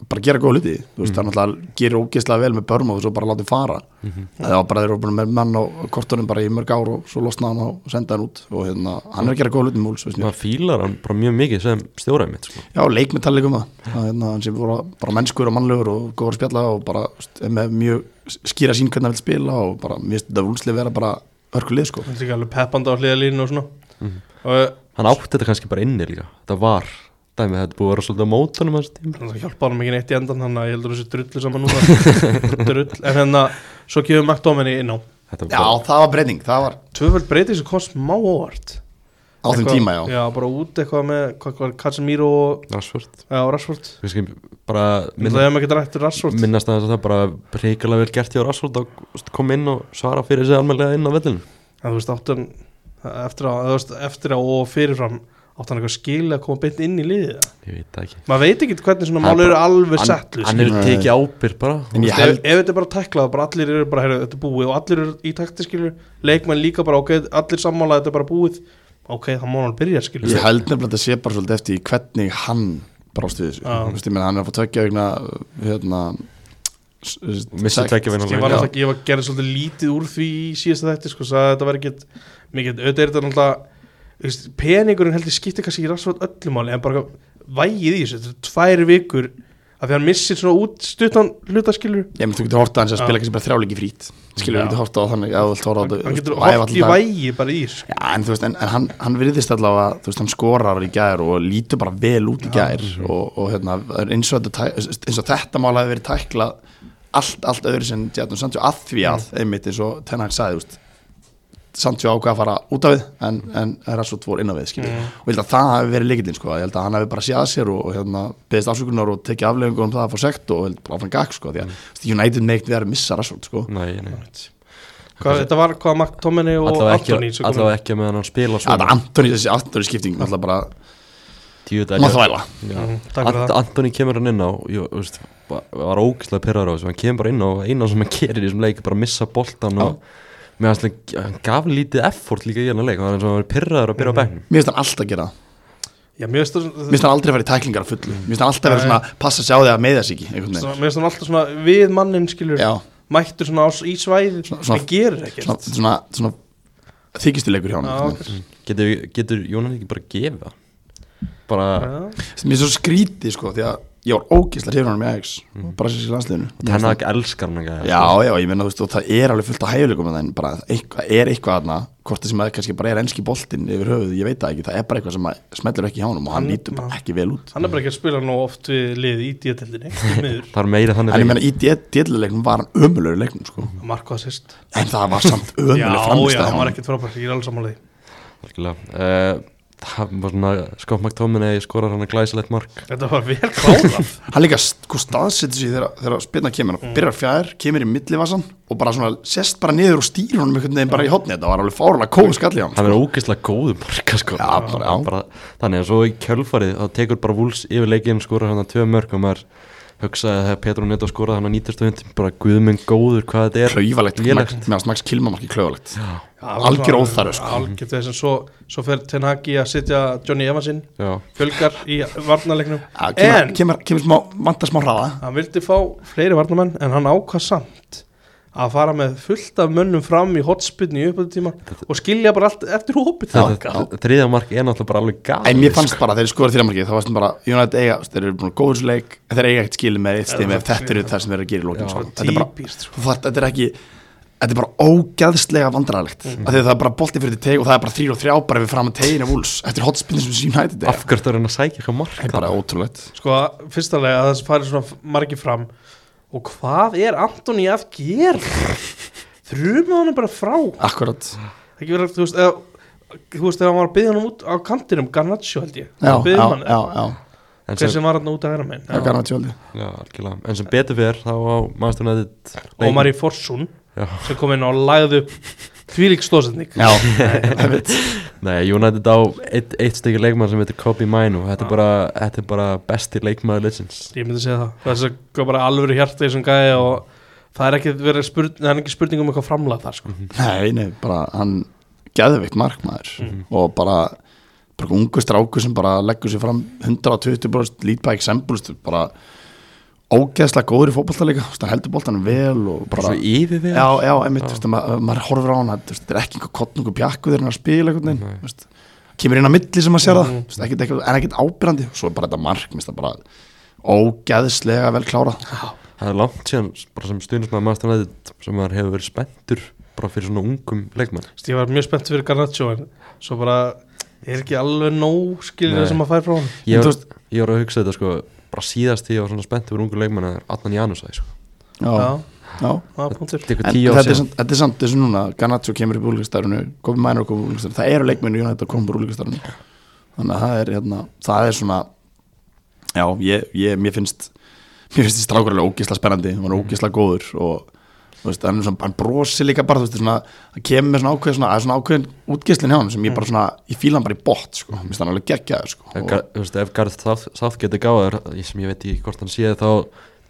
Speaker 3: bara gera góða hluti þú veist, hann alltaf gerir ógeðslega vel með börnum og svo bara látið fara það var bara þeir eru búin með mann á kortunum bara í mörg ár og svo losna hann og senda hann út og hérna, hann er að gera góða hluti með múls veist mér.
Speaker 1: maður fílar hann bara mjög mikið sem stjóraði mitt sko.
Speaker 3: já, leikmetallegum það Það, hérna, hann sem voru bara mennskur og mannlegur og góður að spjalla og bara þú veist, er með mjög skýra sín hvernig hann vil spila og bara, mér finnst þetta vúlslega vera bara hörkulið sko
Speaker 2: Það er líka alveg peppandi á hliðalínu og svona
Speaker 3: Mm.
Speaker 2: Og eh,
Speaker 1: hann átti þetta kannski bara inni líka þetta var dæmið þetta er búið að vera svolítið á mótunum hans tíma
Speaker 2: þannig að hjálpa hann mikið neitt í endan þannig að ég heldur þessu drullu saman núna drull, en hérna, svo gefum McDominay inn á
Speaker 1: þetta var
Speaker 3: já,
Speaker 1: bara,
Speaker 3: það var breyting, það var
Speaker 2: tvöföld breyting sem kom smá óvart
Speaker 3: á þeim
Speaker 2: Eitthvað-
Speaker 3: tíma, já,
Speaker 2: Já, bara út eitthvað með hvað var Casemiro og
Speaker 1: Rashford
Speaker 2: já, Rashford
Speaker 1: kannski bara
Speaker 2: Minna,
Speaker 1: minna,
Speaker 2: Það er maður ekki rættur Rashford
Speaker 1: minnast aðeins að það bara reykjulega vel gert hjá Rashford að veist, koma inn og svara fyrir sig almenlega inn á vellinu
Speaker 2: En þú veist, áttan eftir að, þú veist, eftir að og fyrirfram áttan eitthvað skil að koma beint inn í liðið
Speaker 1: ég veit það ekki
Speaker 2: Maður veit ekki hvernig svona
Speaker 1: Hann
Speaker 2: mál eru
Speaker 1: bara-
Speaker 2: alveg
Speaker 1: hann,
Speaker 2: sett
Speaker 1: hann er
Speaker 3: Nei.
Speaker 1: tekið ábyrg bara
Speaker 3: en ég
Speaker 2: Ef,
Speaker 3: held
Speaker 2: ef þetta er bara teklað, bara allir eru bara, heyrðu, þetta er búið og allir eru í takti, skilur, leikmenn líka bara, ok, allir sammála, þetta er bara búið, ok, það má hann byrja, skilur.
Speaker 3: Ég held nefnilega að þetta sé bara svolítið eftir í hvernig hann brást við þessu
Speaker 2: Já.
Speaker 3: Þú veist, ég meina, hann er að fá tveggja vegna hérna s- s-
Speaker 1: missi
Speaker 3: sekt.
Speaker 1: tekið
Speaker 2: Ég var
Speaker 1: vinna
Speaker 2: náttúrulega, ég var gerðið svolítið lítið úr því í síðasta þætti, sko, sagði að þetta væri ekkert mikið, auðvitað er þetta náttúrulega, þú veist, peningurinn heldur skiptir kannski í rastvöld öllu máli, en bara vægið í þessu, þetta er tvær vikur, af því hann missir svona út stuttan hlutaskilur,
Speaker 3: Ég meina, þú getur horta hans að
Speaker 2: Já.
Speaker 3: spila kannski bara þrjáleiki frít Skilur,
Speaker 2: Já.
Speaker 3: þú getur horta á þannig að þú vilt horta á
Speaker 2: hann,
Speaker 3: þetta
Speaker 2: hann getur
Speaker 3: væfa
Speaker 2: hótt í
Speaker 3: allan dag.
Speaker 2: vægið bara í þessu, sko.
Speaker 3: Já, en þú veist, en, en hann, hann virðist allavega, þú veist, hann skorar í gær og lítur bara vel út í gær og, og hérna, það er eins og, þetta, tæ- eins og þetta mál hafi verið tæklað allt, allt öðru sem Jadon Sancho að því að, einmitt eins og Tenhag sagði, þú veist Sancho ákvað að fara út af við en, en Rashford voru inn á við, skilur
Speaker 2: Mm.
Speaker 3: og ég held að það hafi verið líkillinn, sko, ég held að hann hafi bara séð að sér og, og hérna, beðist ásökunar og tekið aflefingur um það að fá sekt og ég held bara áfram gag, sko, því að mm. United meikt verið að missa Rashford, sko
Speaker 1: nei, nei
Speaker 2: Hvað, þetta var hvað Mark Tomini og
Speaker 1: allavega ekki,
Speaker 2: Antoni sem komu
Speaker 1: allavega ekki meðan hann spila
Speaker 3: Þetta
Speaker 1: svona
Speaker 3: Antoni, þessi Antoni skipting, alltaf bara,
Speaker 1: tíu þetta
Speaker 3: maður þvæla
Speaker 2: Mhm, takk fyrir
Speaker 1: Ant
Speaker 2: það.
Speaker 1: Antoni kemur hann inn á ég veist, ba- var ógislega pyrrar á þessu hann kemur bara inn á og eina sem hann gerir í þessum leik er bara að missa boltan og með hans, hann gaf lítið effort líka í hann að leik hann var eins og hann var pyrraður að
Speaker 2: Mhm.
Speaker 1: byrja á bæknum
Speaker 3: Mér finnst hann alltaf að gera það
Speaker 2: Já, mér finnst það-
Speaker 3: Mér finnst hann aldrei að fara í tæklingar að fullu Mér finnst hann alltaf að vera
Speaker 2: Nei.
Speaker 3: svona að passa sig á því að meiða sig ekki einhvern
Speaker 2: Svona-
Speaker 3: veginn
Speaker 2: Mér finnst hann alltaf svona við mannin skilur
Speaker 3: Já,
Speaker 2: Mættur svona á, í svæði
Speaker 3: Svona-
Speaker 2: svona,
Speaker 3: svona-
Speaker 2: En gerir ekkert
Speaker 3: svona, svona, svona þykistilegur hjá hann
Speaker 2: Já,
Speaker 3: einhvern
Speaker 2: ok.
Speaker 3: veginn.
Speaker 1: getur, getur Jónan ekki bara að gefa bara,
Speaker 2: Já.
Speaker 3: Mér finnst svo skrítið sko Því að ég var ógeðslega hrifin á hann með Ajax
Speaker 2: Mm.
Speaker 3: Brasilíska landsliðinu
Speaker 1: Tenna ekki elskar hann ekki
Speaker 3: Já,
Speaker 2: sko.
Speaker 3: já, ég meina, þú veist, og það er alveg fullt af hæfileikum en bara, eitthvað, er eitthvað aðna hvort það sem að kannski bara er enski boltinn yfir höfuð ég veit það ekki, það er bara eitthvað sem að smetlur ekki hjá honum og hann
Speaker 2: Hann-
Speaker 3: lítur bara ekki vel út
Speaker 2: Hann er bara ekki að spila nú oft við liði í díatildinni miður,
Speaker 1: Það er meira þannig
Speaker 3: En ég
Speaker 1: leik.
Speaker 3: meina, í djelluleiknum var hann ömulögur leiknum, sko
Speaker 2: Marko assist
Speaker 3: En það var samt
Speaker 2: Já,
Speaker 3: ömuleg
Speaker 2: já,
Speaker 3: framistæð
Speaker 2: hann var ekkert frábært, ég er alveg sammála því
Speaker 1: Algjörlega. Eh, Það var svona Scott McTominay skorar hann að glæsilegt mark
Speaker 2: Þetta var vel klárað
Speaker 3: Hann líka st- sko, staðsetur sig þegar, þegar spilna kemur
Speaker 1: Mm.
Speaker 3: hann byrjar fjær, kemur í millivasan og bara svona sest bara niður og stýr honum einhvern veginn bara í hotni, þetta var alveg fárlega kóð skalli á hann
Speaker 1: Hann er ógeðslega góðu marka sko
Speaker 3: Já, bara- já.
Speaker 1: bara, Þannig að svo í kjölfarið þá tekur bara Wolves yfir leikinn skorar hann að tvö mörg og maður hugsaði að þegar Petru Neto skoraði hann að nýtastöðund bara guðmenn góður hvað þetta er
Speaker 3: Klauvalegt,
Speaker 1: Lélegt.
Speaker 3: meðan Max Kilman var ekki klauvalegt
Speaker 2: Svona-
Speaker 3: Algjör óþarfi, sko
Speaker 2: Algjör þess að svo, svo fer Ten Hag í að setja Johnny Evansin
Speaker 1: Já,
Speaker 2: fjölgar í varnarleiknum
Speaker 3: Já,
Speaker 2: En
Speaker 3: kemur, kemur, kemur smá, vantar smá hraða
Speaker 2: hann vildi fá fleiri varnamenn en hann ákvað samt að fara með fullt af mönnum fram í hotspinni í uppöldtíma og skilja bara allt eftir hópið
Speaker 1: þetta
Speaker 2: þangað.
Speaker 1: þriðja mark er náttúrulega bara alveg sko. gæð
Speaker 3: En mér fannst bara, þeir skoður þrjá markið, þá varst bara United eiga, þú veist, þeir eru búin að góður þessu leik en þeir eiga ekkert skilið með eitt stími ef þetta eru það sem þeir eru að gera í lókin
Speaker 1: Já.
Speaker 3: sko. Þetta er bara,
Speaker 2: Típist
Speaker 3: þú þarft- þetta er ekki þetta er bara ógæðslega vandræðalegt mm. af því að það er bara bolti fyrir til teg og það er bara þrýr og þrjá bara við fram að teginu vúls eftir hotspinni sem United er
Speaker 1: Af hverju það er hann að sækja eitthvað mark
Speaker 3: Það er bara ótrúlegt
Speaker 2: Sko, fyrstalega að þess farið svona margi fram og hvað er Antoni að gera? Þrjumið honum bara frá
Speaker 3: Akkurat
Speaker 2: ekki verið, þú veist, eða þú veist, þegar hann var að byggja hann út á kantinum Garnaccio held ég,
Speaker 3: Já,
Speaker 2: Hann
Speaker 3: já,
Speaker 2: biðja um hann,
Speaker 3: já, já,
Speaker 1: En
Speaker 2: hver
Speaker 1: sem,
Speaker 2: sem var hann út að hæra minn
Speaker 3: það er garnað tjóli
Speaker 1: já, algjörlega. en sem betur fyrir þá á Master United leikinn.
Speaker 2: Ómar í Forsun
Speaker 1: Já.
Speaker 2: sem kom inn og lagði upp tvílík stóðsending
Speaker 3: Já, það veit
Speaker 1: Nei, United á eitt, eitt stykki leikmann sem heitir Kobe Minu Þetta er bara, þetta er bara besti leikmaður leysins
Speaker 2: ég myndi segja það, þess að kom bara alvöru hjarta í þessum gæði og það er ekki verið spurning, það er ekki spurning um eitthvað framlag þar sko.
Speaker 3: Nei, nei, bara hann geðveikt markmaður og bara bara ungu stráku sem bara leggur sér fram 120% lít by example stu, bara ógeðslega góður í fótballtaleika, hann heldur boltanum vel og bara,
Speaker 1: Svo yfirvega
Speaker 3: já, já, einmitt stu, ma maður horfir á hann, hann, þú veist, þetta er ekki einhver kottnungu pjakku þegar hann er að spila einhvern veginn þú veist. kemur inn á milli sem maður sér það mm. ekkit, ekkit, en ekkert ábyrrandi, svo er bara þetta mark mér finnst það bara ógeðslega vel klárað
Speaker 1: Það er langt síðan bara sem stuðnismæður Master United sem maður hefur verið spenntur bara fyrir svona ungum leikmann
Speaker 2: Þess, ég var mjög spennt fyrir Garnaccio en svo bara er ekki alveg nóg skilur
Speaker 1: Nei.
Speaker 2: það sem að færa frá hann
Speaker 1: Ég,
Speaker 3: En
Speaker 1: var-
Speaker 3: þú veist-
Speaker 1: ég var að hugsa þetta sko bara síðast því ég var svona spenntur fyrir ungu leikmann er Adnan Janusæ sko.
Speaker 3: já,
Speaker 2: já,
Speaker 3: já, já.
Speaker 2: það er punktur
Speaker 1: Þetta er
Speaker 3: En
Speaker 1: eitthvað tíu ár
Speaker 3: þetta er,
Speaker 1: síðan
Speaker 3: samt, þetta er samt þessu núna Garnaccio kemur upp úr úlíkastærinu Kofi Mænur kom upp úr úlíkastærinu Það eru leikmennu United að koma upp úr úlíkastærinu Þannig að það er, hérna, það er svona Já, ég, ég, mér finnst Mér finnst þessi strákur alveg ógisla spennandi Hann var
Speaker 1: Mhm.
Speaker 3: ógisla góður og þú veist, hann, er svona, hann brosi líka bara þú veist, svona, hann kemur með svona ákveðin svona, það er svona ákveðin útgislin hjá hann sem ég
Speaker 1: Mhm.
Speaker 3: bara svona, ég fíla hann bara í bótt sko, mér finnst hann alveg geggjaður sko,
Speaker 1: Ef
Speaker 3: og,
Speaker 1: Gar- þú veist, Ef Garð Sátt getur gáður sem ég veit ekki hvort hann séð þá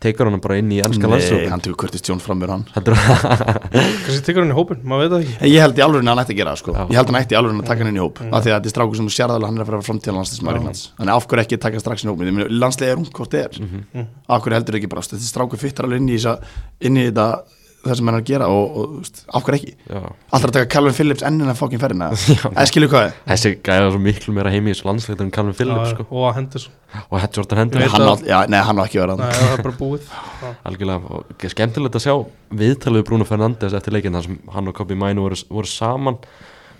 Speaker 1: tekur hann hann bara inn í ennska
Speaker 3: Nei,
Speaker 1: landsók
Speaker 3: hann tegur Curtis Jones fram með hann
Speaker 2: kannski tekur hann í hópin, maður veit það ekki
Speaker 3: En Ég held í alveg að hann ætti að gera það sko
Speaker 1: Já.
Speaker 3: Ég held hann ætti í alveg að taka hann inn í
Speaker 2: Mm.
Speaker 3: hóp af Því að þetta er stráku sem þú sérðalega hann er að fara framtíðan landsliðsmaður Englands Þannig af hverju ekki taka hann strax inn í hóp Ég meina, Landsliðið er ungt hvort þið er
Speaker 2: Mhm.
Speaker 3: Af hverju heldur ekki bara Þetta stráku fyttar alveg inn í, þessa- inn í þetta Það sem hann er að gera og, og þú veist, af hverju ekki Alltaf að taka Calvin Phillips enn en að fokkin ferðina En skilu hvað er
Speaker 1: Þessi gæða svo miklu meira heimi í þessu landsleikta en Calvin Phillips sko.
Speaker 2: og að hendur svo
Speaker 1: og Hedge Jordan Henderson
Speaker 2: Ég veit
Speaker 3: Hann á
Speaker 2: að-
Speaker 3: já, nei, hann á ekki að vera
Speaker 2: Nei,
Speaker 3: hann
Speaker 2: það er bara búið
Speaker 1: Algjörlega, og ge- skemmtilegt að sjá viðtalið við Bruno Fernandes eftir leikinn þar sem hann og Kobe Mænu voru, voru saman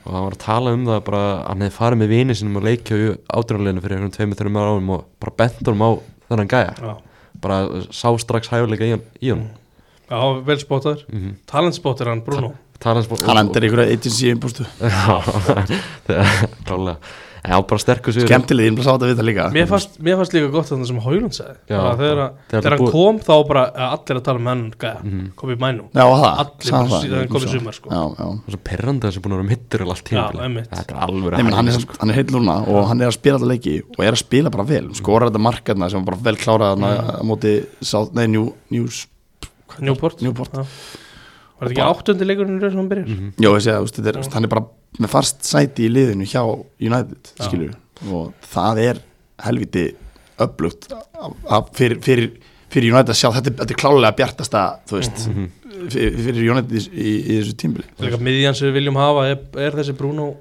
Speaker 1: og hann var að tala um það bara að hann hefði farið með vini sinum að leikja í ádrunarleginu fyrir einhvern tveimur, þreimur árum og bara bent honum á þennan gæja
Speaker 2: Já,
Speaker 1: bara sá strax hæfuleika í hann, í hann.
Speaker 2: já vel spótaður mm
Speaker 1: Mhm.
Speaker 2: -hmm. Talentspótaður hann, Bruno
Speaker 1: tala hans búin
Speaker 3: Hann endur ykkur agency inbústu
Speaker 1: klálega, en hann var bara sterkur sigur
Speaker 3: Skemmtilegð, ég er bara sá þetta við það líka
Speaker 2: mér fannst, mér fannst líka gott þannig sem Hólund sagði
Speaker 1: Já,
Speaker 2: Bara Þegar, að-
Speaker 1: þegar
Speaker 2: þegar hann
Speaker 1: búið- Mhm.
Speaker 2: kom þá bara að allir að tala um henn gæja, kom í mænu
Speaker 3: Já, og það,
Speaker 2: Allir
Speaker 3: sagði
Speaker 2: bara
Speaker 3: það,
Speaker 2: síðan
Speaker 3: ég
Speaker 2: komið
Speaker 3: hugsa.
Speaker 2: sumar, sko.
Speaker 3: Já, já
Speaker 1: og svo perrandi þessi búin að vera mittur allt
Speaker 2: Já,
Speaker 1: tíma
Speaker 2: einmitt.
Speaker 1: þetta er alveg
Speaker 3: Nei, menn, hann, er,
Speaker 2: sko.
Speaker 3: samt- hann er heill núna og hann er að spila þetta leiki og er að spila bara vel,
Speaker 2: Mm.
Speaker 3: skorar þetta markarna sem var bara vel klárað hann að að móti South, nei, New, News
Speaker 2: Newport
Speaker 3: Newport.
Speaker 2: Já. Var þetta ekki áttundi leikurinn í raun sem hann byrjar?
Speaker 1: Mhm.
Speaker 3: Jó, ég segja, þú veist, þetta er, þú veist, hann er bara með fast sæti í liðinu hjá United
Speaker 2: Já.
Speaker 3: skilju, og það er helviti öflugt að- að fyrir, fyrir, fyrir United að sjá þetta, er- þetta er klálega bjartasta þú veist,
Speaker 2: Mhm,
Speaker 3: fyrir, fyrir United í, í, í þessu tímbili
Speaker 2: Líka miðjan sem við viljum hafa er, er þessi Bruno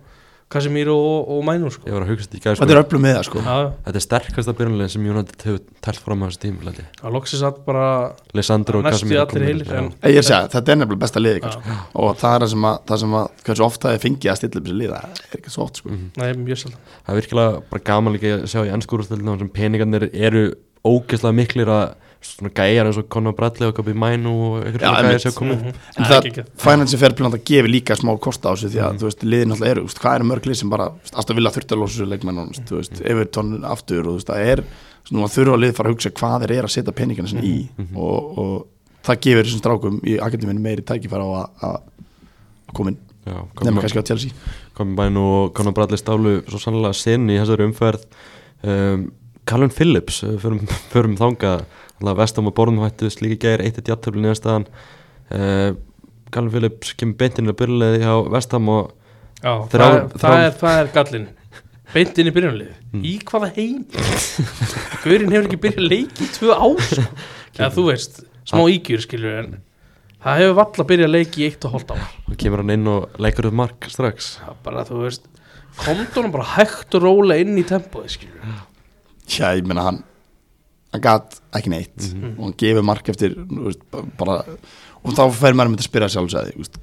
Speaker 2: Casemiro og, og Mænur sko.
Speaker 1: Ég var að hugsa þetta í gæð
Speaker 3: Þetta
Speaker 1: sko.
Speaker 3: er öflum með það sko
Speaker 2: Já,
Speaker 1: Þetta er sterkasta byrjunlegin sem United hefur tælt fram á þessu tíma
Speaker 2: það loksist að bara
Speaker 1: Lissandro og
Speaker 2: næstu í
Speaker 1: Casemiro
Speaker 2: allir
Speaker 1: komnir
Speaker 2: heilir
Speaker 1: inn,
Speaker 2: en,
Speaker 3: Ég segi, það, þetta er nefnilega besta liði
Speaker 2: Já.
Speaker 3: sko. og það er það sem að, það sem að hversu ofta þið fengið að stilla upp þessu liða það er ekki svo oft sko.
Speaker 2: Nei, mjög sjaldan
Speaker 1: já. Það er virkilega bara gaman líka að sjá í ennskúrústöldinu sem peningarnir eru ógeðslega miklir að svona gæjar eins og Conor Bradley og Gabi Mainu og
Speaker 3: Já,
Speaker 1: eitthvað gæjar
Speaker 3: einmitt.
Speaker 1: sem komið
Speaker 2: Mhm.
Speaker 3: en
Speaker 2: Nei,
Speaker 3: það,
Speaker 2: ekki, ekki.
Speaker 3: Financial Fair Play náttúrulega gefur líka smá kost á þessu því að þú veist, liðin náttúrulega eru, þú veist, hvað eru mörg lið sem bara alltaf vilja þurft að losa þessu leikmenn og, þú veist, Everton aftur og þú veist, það er svona að þurfa að lið fara að hugsa hvað þeir eru að setja peningana sinni í og, og það gefur þessum strákum í akademinu meiri tækifæra á að, að að koma inn,
Speaker 1: Já,
Speaker 3: nema
Speaker 1: komið-
Speaker 3: kannski á Chelsea
Speaker 1: komið bæn og Conor Bradley stálu svo sannlega sinn í þessari umferð um, Callum Phillips eh, förum, förum þangað alltaf vestum og borðum hættu slíki gæri eitt eitt játtöflin í staðan uh, Callum Phillips kemur beintinn að byrjulegði hjá vestam og
Speaker 2: Já,
Speaker 1: Þrá-
Speaker 2: það, er, það,
Speaker 1: þrá-
Speaker 2: er, það er gallin Beint inn í byrjunlið
Speaker 3: Hmm.
Speaker 2: Í hvaða heim Gaurin hefur ekki byrjað leik í tvö ár sko. Eða þú veist, smá
Speaker 3: Ah.
Speaker 2: ígjur skilur en Það hefur valla byrjað leik í eitt og hálft ár
Speaker 1: og kemur hann inn og leikur upp mark strax
Speaker 2: Það er bara, þú veist Komdónum bara hægt og róla inn í tempóði skilur
Speaker 3: Já, ég meina hann hann gat ekki neitt og hann gefur mark eftir þú veist, ba- bara, og þá fer maður með að spyrja sjálfsæði veist,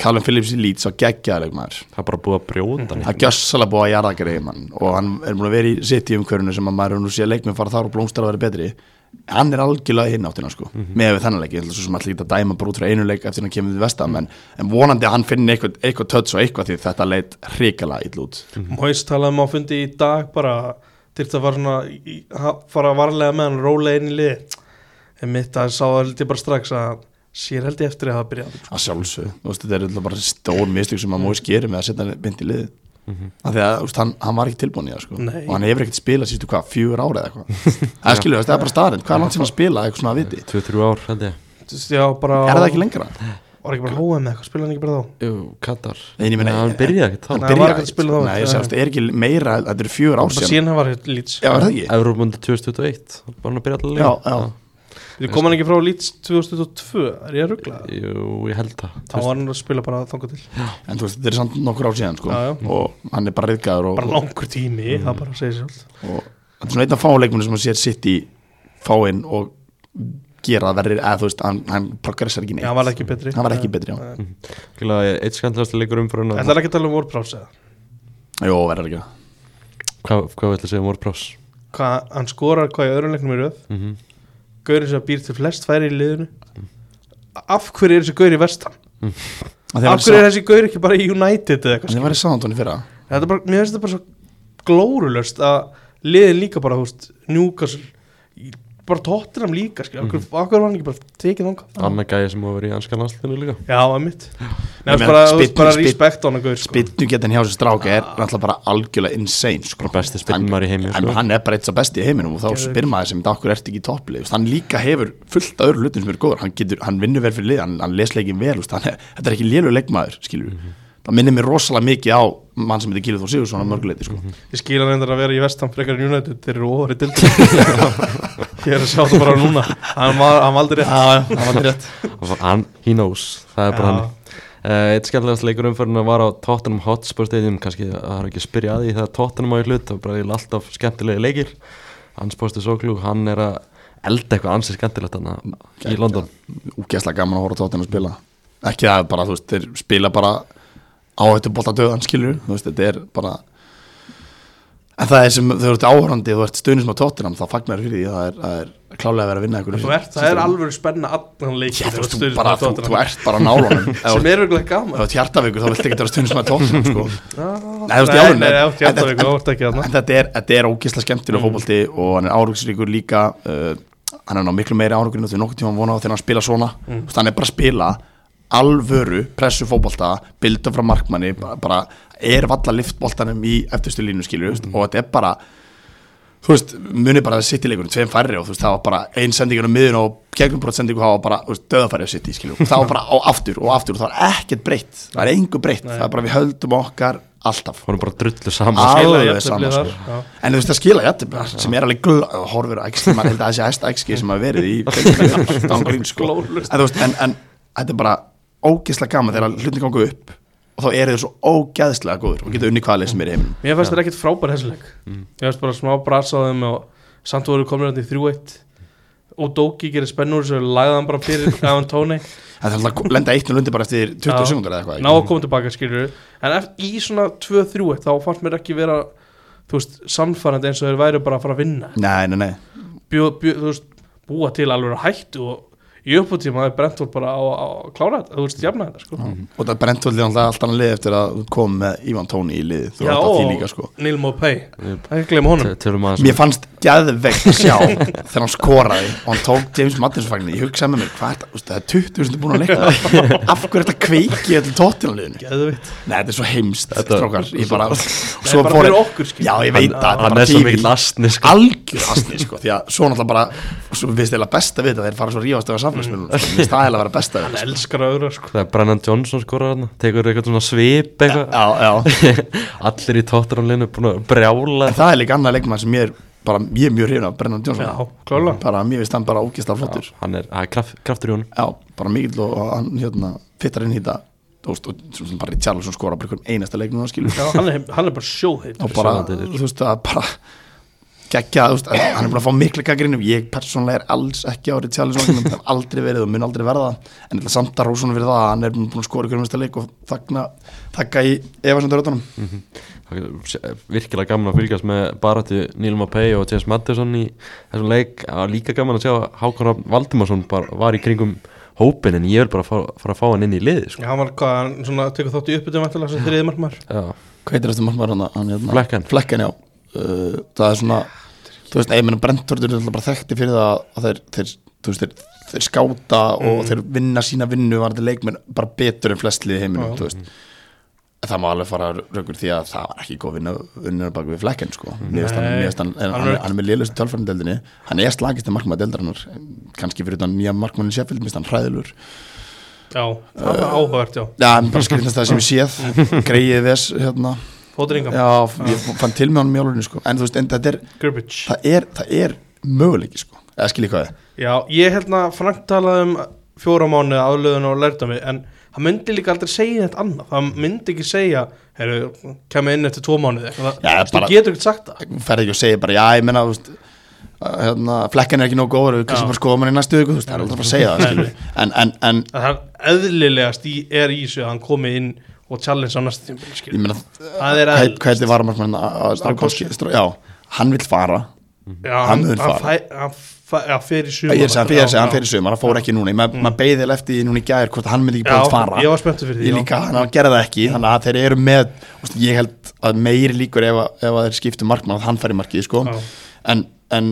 Speaker 3: Callum Phillips í lít svo geggjaðileg maður
Speaker 1: það er bara búið að brjóta hann
Speaker 3: það gjössalega búið að jarða ekki reyman og hann er múin að vera í sitt í umhverfinu sem að maður hefur nú sé leikmið fara þar og blómstara að vera betri hann er algjörlega hinn áttina sko með við þennan leik, ég ætla svo sem allir ekki að dæma bara út frá einu leik eftir hann kemur við vestam en, en vonandi að hann finnir eitthvað, eitthvað tötts og eitthvað því þetta leit hrikalega ill út
Speaker 2: Móis talaðum um á fundi í dag bara til að fara svona í- ha- fara varlega með hann, róla inn í lið En mitt að sá það held ég bara strax að sér held ég eftir að hafa byrjað
Speaker 3: að sjálfsög, þú veist, þetta er alltaf bara stór mistök sem að Móis gerir með að setja hann beint í liðið af því að þú veist, hann, hann var ekki tilbúin í það sko.
Speaker 2: Nei.
Speaker 3: og hann hefur ekkert spilað sístu hvað, fjögur ára eða eitthvað það er skilur, það er bara starinn, hvað er langt sem hann spila eitthvað svona að viti,
Speaker 1: 2-3 ár held ég
Speaker 2: Já, bara
Speaker 3: er það ekki lengra?
Speaker 2: Var ekki bara HM eða eitthvað, spilaði hann ekki bara þá?
Speaker 1: Jú, Katar
Speaker 3: Nei, ég meina-
Speaker 1: Nei, hann byrjaði ekkert
Speaker 3: hann
Speaker 1: þá
Speaker 2: Nei, hann var
Speaker 3: byrjaði
Speaker 2: ekkert að spila þá.
Speaker 3: Nei, ég sé, þú veist, er ekki meira, þetta eru fjögur
Speaker 2: Bara
Speaker 3: ára sko. síðan
Speaker 2: síðan hann var hér Leeds
Speaker 3: já, er það ekki?
Speaker 1: Európmöndu 2021 hann var hann að byrja allir
Speaker 3: Já, já.
Speaker 2: Þú kom hann ekki frá Leeds 2002, er ég að ruggla?
Speaker 1: Jú, ég held það
Speaker 2: Þá var hann að spila bara þangað til
Speaker 3: en þú veist, þetta er samt nokkur ára síðan sko.
Speaker 2: Já, já.
Speaker 3: og hann er bara riðgæður og,
Speaker 2: Bara langur tími, það bara segir sér allt
Speaker 3: og þetta er svona einn af fáleikmunum sem hann sér sitt í fáinn og gera verri, eða þú veist, hann, hann progressar ekki
Speaker 2: Já,
Speaker 3: neitt
Speaker 2: hann var ekki betri
Speaker 3: Hann var ekki betri, já.
Speaker 1: Gjöla, eitt skandlægast leikur umfyrir
Speaker 2: Þetta er ekki að tala um Warprouse eða
Speaker 3: Jó, verður ekki það
Speaker 1: Hvað hvað ætla að segja um Warpross?
Speaker 2: Hvað, hann skorar hvað í öðrum leiknum í röð
Speaker 1: Mhm.
Speaker 2: Gaurin sem býr til flest færi í liðinu Af hverju er þessi gaur í vestan?
Speaker 3: Af
Speaker 2: Af hverju er þessi gaur ekki bara í United eða eitthvað?
Speaker 3: Það var í Sándóni fyrra
Speaker 2: Þetta er bara, mér finnst þetta bara svo glórulöst að liðin líka bara, þú veist, Newcastle í- bara tóttir hann líka, skil, okkur, okkur var hann ekki bara tekið þangað.
Speaker 1: Anna gæði sem hafa verið í anska landslæðinu líka
Speaker 2: Já, að mitt. Nei,
Speaker 3: Ég meina,
Speaker 2: bara, þú
Speaker 3: spinn-
Speaker 2: veist, bara
Speaker 3: spinn-
Speaker 2: respekt á hann að gauð, sko.
Speaker 3: Spinnu getin hjá þessu stráka er náttúrulega bara algjörlega insane sko.
Speaker 1: Bara besti spinnmaður í heiminum,
Speaker 3: hann,
Speaker 1: sko.
Speaker 3: hann er bara eitt af besti í heiminum og þá
Speaker 2: Geðveikt.
Speaker 3: spyr maður sem þetta okkur ert ekki í topplið Þú veist, Hann líka hefur fullt af öðru hlutin sem eru góður Hann, getur, hann vinnur vel fyrir lið, hann, hann les leikin vel þú veist, hann, er- Þetta er ekki lélur leikmaður skilur.
Speaker 1: Mhm.
Speaker 3: Það minnir mér rosalega mikið á mann sem heitir Gilið Þór Sigurðsson að mörguleiti
Speaker 1: Mhm.
Speaker 3: sko.
Speaker 2: Ég skil hann reyndar að vera í vestan frekar en United, þeir eru ofar í dildin. Ég er að sjá það bara núna. Hann var, hann var aldrei rétt. Já, já, hann var aldrei rétt.
Speaker 1: Og hann, He knows, það er bara
Speaker 2: Já.
Speaker 1: hann uh, Eitt skandlægast leikur umfyrir var á Tottenham Hotspur stadium Kannski að það er ekki að spyrja að því þegar Tottenham á í hlut Það er bara eiginlega alltaf skemmtilegi leikir Hans posti Soglu, hann er að elda eitthvað ansið skemmtilegt hann í London
Speaker 3: Úgeslega gaman að horfa tóttin að spila Ekki það bara, þú veist, þeir spila bara á þetta bolta döðan skilur Þú veist, þetta er bara En það er sem þau ert áhörandi þú ert stuðnism á tóttinam, þá fagnar fyrir því það er, það er klálega að vera að vinna ykkur
Speaker 2: Þú ert, það er alveg spenna allan
Speaker 3: Já,
Speaker 2: leikin.
Speaker 3: þú veist, þú, bara, þú, þú ert bara nálunum Ef þú
Speaker 2: Sem er auðvitað
Speaker 3: ef þú
Speaker 2: gaman.
Speaker 3: ert hjartaveikur, þá vilt ekki vera stuðnism á tóttinam sko.
Speaker 2: Nei,
Speaker 3: Nei, þú veist, í alvöru,
Speaker 2: Nei,
Speaker 3: en-
Speaker 2: þú ert
Speaker 3: en-
Speaker 2: hjartavík,
Speaker 3: en-
Speaker 2: þú ert ekki þarna.
Speaker 3: En þetta er, þetta er ógisla skemmtilega fótbolti og hann er árugsríkur líka uh, hann er ná miklu meiri árugurinn því nokkuð tíma vona á þegar hann spila svona mm. hann er bara að spila alvöru pressu fótbolta, bilda frá markmanni bara, bara er valla liftboltanum í eftirstu línu skilju mm. og þetta er bara þú veist, muni bara að sitt í leikunum, tveim færri og þú veist, það var bara ein sendingun á miðun og gegnumbrot sendingu það var bara, þú veist, döðafæri að sitt í skilju og það var bara á aftur og aftur og það var ekkert breytt það er engu breytt, það er bara við höldum okkar alltaf
Speaker 1: Hún er bara drullu saman
Speaker 2: Ah. skila
Speaker 3: alveg
Speaker 2: jafntefli
Speaker 3: sama
Speaker 2: þar,
Speaker 3: sko.
Speaker 2: já.
Speaker 3: en þú veist að skila jættibli sem er alveg glö- horfir á XG maður held að þessi hæsta XG sem hafa verið í deildinni, án gríns, sko. en,
Speaker 2: Glórulaust.
Speaker 3: þú veist, en, en þetta er bara ógeðslega gaman þegar hlutin gangu upp og þá eru þeir svo ógæðslega góður og geta unni hvaða lið sem er í heiminum
Speaker 2: Mér fannst þetta ekkert frábær hessileg mm. Ég fannst bara smá brats á þeim og samt voru komnir hann í 3-1 og Dóki gerir spennur svo lagði hann bara fyrir gafan tóni
Speaker 3: Það er alltaf að lenda eitt og lundi bara eftir 20
Speaker 2: Já.
Speaker 3: sekundur eða eitthvað
Speaker 2: ná að koma tilbaka skilur en ef- í svona 2-3 þá fannst mér ekki vera þú veist, samfærandi eins og þeir væri bara að fara að vinna
Speaker 3: Nei, nei, nei
Speaker 2: bjó, bjó, þú veist, búa til alveg hættu og í uppbútíma er Brentford bara á, á að klára þetta, þú veist, jafna þetta sko.
Speaker 3: Og það brentvöldið er alltaf allt annað lið eftir að þú kom með Ivan Tóni í lið Þú var alltaf því líka sko
Speaker 2: og Neil Mopay
Speaker 1: Við
Speaker 2: ekki gleyma honum
Speaker 1: t- tölum aðeins um-
Speaker 3: Mér fannst gæðvegt að sjá þegar hann skoraði og hann tók James Madison fagnir Ég hugsaði með mér, hvað er þetta, Þú veist, það er 20 sem búin að leika Af hverju er þetta kveiki öllu tóttunarliðinu Nei,
Speaker 2: Geðvitt.
Speaker 3: þetta er svo heimst,
Speaker 1: Þetta-
Speaker 3: strókar Ég bara,
Speaker 2: Nei, bara
Speaker 3: fór-
Speaker 2: fyrir okkur, skilur.
Speaker 3: Já, ég veit
Speaker 2: Hann-
Speaker 3: það, þetta
Speaker 1: Hann
Speaker 3: bara
Speaker 1: er svo
Speaker 3: TV.
Speaker 1: mikill astni sko.
Speaker 3: algjör asni sko, því að svo náttúrulega bara svo viðst eða besta við þetta, þeir fara svo rífast eða samfélagsmiðlunum, sko,
Speaker 1: Mm.
Speaker 3: mér staðið að vera besta við
Speaker 2: hann
Speaker 3: þetta sko.
Speaker 2: elskar að öðra sko.
Speaker 1: Þegar Brennan Johnson skorar hann Tekur eitthvað svona svip eitthvað
Speaker 3: sko. Já, já,
Speaker 1: Allir í tóttaránleinu búin að brjála
Speaker 3: en það er líka annað leikmann sem ég er bara, ég er mjög hrifin af Brennan
Speaker 2: já,
Speaker 3: Johnson,
Speaker 2: klála
Speaker 3: bara mér finnst hann bara ógistar flottur, já,
Speaker 1: Hann er að kraft, kraftur í honum
Speaker 3: bara mikill og og hann hérna fittar inn í þetta, þú veist, og svo sem bara Richarlison skora bara einhverjum einasta leikmann og skilur,
Speaker 2: hann er, hann er bara sjóðheit
Speaker 3: og bara,
Speaker 1: Sjóðandi.
Speaker 3: þú veist, það er bara geggjað, þú veist, hann er búin að fá mikla gaggrinu ég persónlega er alls ekki á Richarlison hann er aldrei verið og mun aldrei verða en ég ætla samt að rósunum fyrir það að hann er búin að skora í hverjum einasta leik og þakna, þakka í efasendaröðunum
Speaker 1: Það er sé- virkilega gaman að fylgjast með baratu Níl Mapei og James Matteson í þessum leik og líka gaman að sjá að Hákon Rafn Valdimarsson bara var í kringum hópin en ég vil bara fara, fara að fá hann inn í liði sko.
Speaker 2: Já, hann var hvað, hann svona tekur þátt í uppbytum eftirlega sem þriðið margmar
Speaker 1: Já,
Speaker 3: hvað heitir þetta margmar hann? hann hérna,
Speaker 1: Flekkan.
Speaker 3: já uh, það er svona, þú veist, einmenn Brentford er náttúrulega bara þekkti fyrir það að þeir, þeir þú veist, þeir, þeir skáta og
Speaker 2: Mm.
Speaker 3: þeir vinna sína vinnu var þetta leikmenn bara betur en flestlið í heiminum,
Speaker 2: Já.
Speaker 3: þú veist En það má alveg fara raukur því að það var ekki góð vinna unnur bak við flekken sko Mér finnst hann,
Speaker 2: Nei.
Speaker 3: mér finnst hann, en
Speaker 2: Hann
Speaker 3: hann,
Speaker 2: er-
Speaker 3: er- hann er með lélustu tölfærinu deildinni hann er slagist í markmaður deildarinnar kannski fyrir utan nýja markmannin Sheffield, mér finnst hann hræðilur
Speaker 2: Já, það var áhugavert, já
Speaker 3: Já, hann er bara skrifnast það sem ég séð greiðið þess, hérna
Speaker 2: Fótringa,
Speaker 3: Já, ég fann til með hann mjólurinn sko en þú veist, en þetta er,
Speaker 2: Gurbage
Speaker 3: það er, það er möguleiki sko, eða skil ég hvað er
Speaker 2: Já, ég hérna Frank talaði um fjóra mánu aðlöðun og lærta mig en hann myndi líka aldrei segja þetta annað hann myndi ekki segja, heyrðu, kemur inn eftir tvo mánuði eitthvað,
Speaker 3: Já,
Speaker 2: það,
Speaker 3: bara-
Speaker 2: þú getur ekkert sagt það
Speaker 3: ferði ekki og segja bara, já, ég menna, þú veist að, hérna, flekkan er ekki nóg góður, við
Speaker 2: Já.
Speaker 3: kannski bara skoðum hann í næstu viku, þú veist, það er aldrei að fara að segja það, skilur en, en, en,
Speaker 2: að það eðlilegast í, er í þessu að hann komi inn og challenge á næsta tíma
Speaker 3: ég
Speaker 2: skil.
Speaker 3: meina
Speaker 2: það er
Speaker 3: hvað
Speaker 2: eðl
Speaker 3: hvað heitir varamarkmann Starkovski, já, hann vil fara
Speaker 2: já,
Speaker 3: hann mun
Speaker 2: hann,
Speaker 3: fara.
Speaker 2: fæ- hann, fæ- já, fer í sumar
Speaker 3: ég er að segja, hann fyrir,
Speaker 2: Já,
Speaker 3: segja, hann
Speaker 2: já.
Speaker 3: fyrir sumar, hann fór ekki núna maður mm. beðið eftir því núna í gær hvort að hann myndi ekki búið
Speaker 2: Já,
Speaker 3: að fara
Speaker 2: ég var spenntur fyrir því,
Speaker 3: ég
Speaker 2: já.
Speaker 3: líka, hann hann gerði það ekki, þannig að þeir eru með úst, ég held að meiri líkur ef, að- ef að þeir skiptu markmann að hann fær í markið sko.
Speaker 2: Já.
Speaker 3: en, en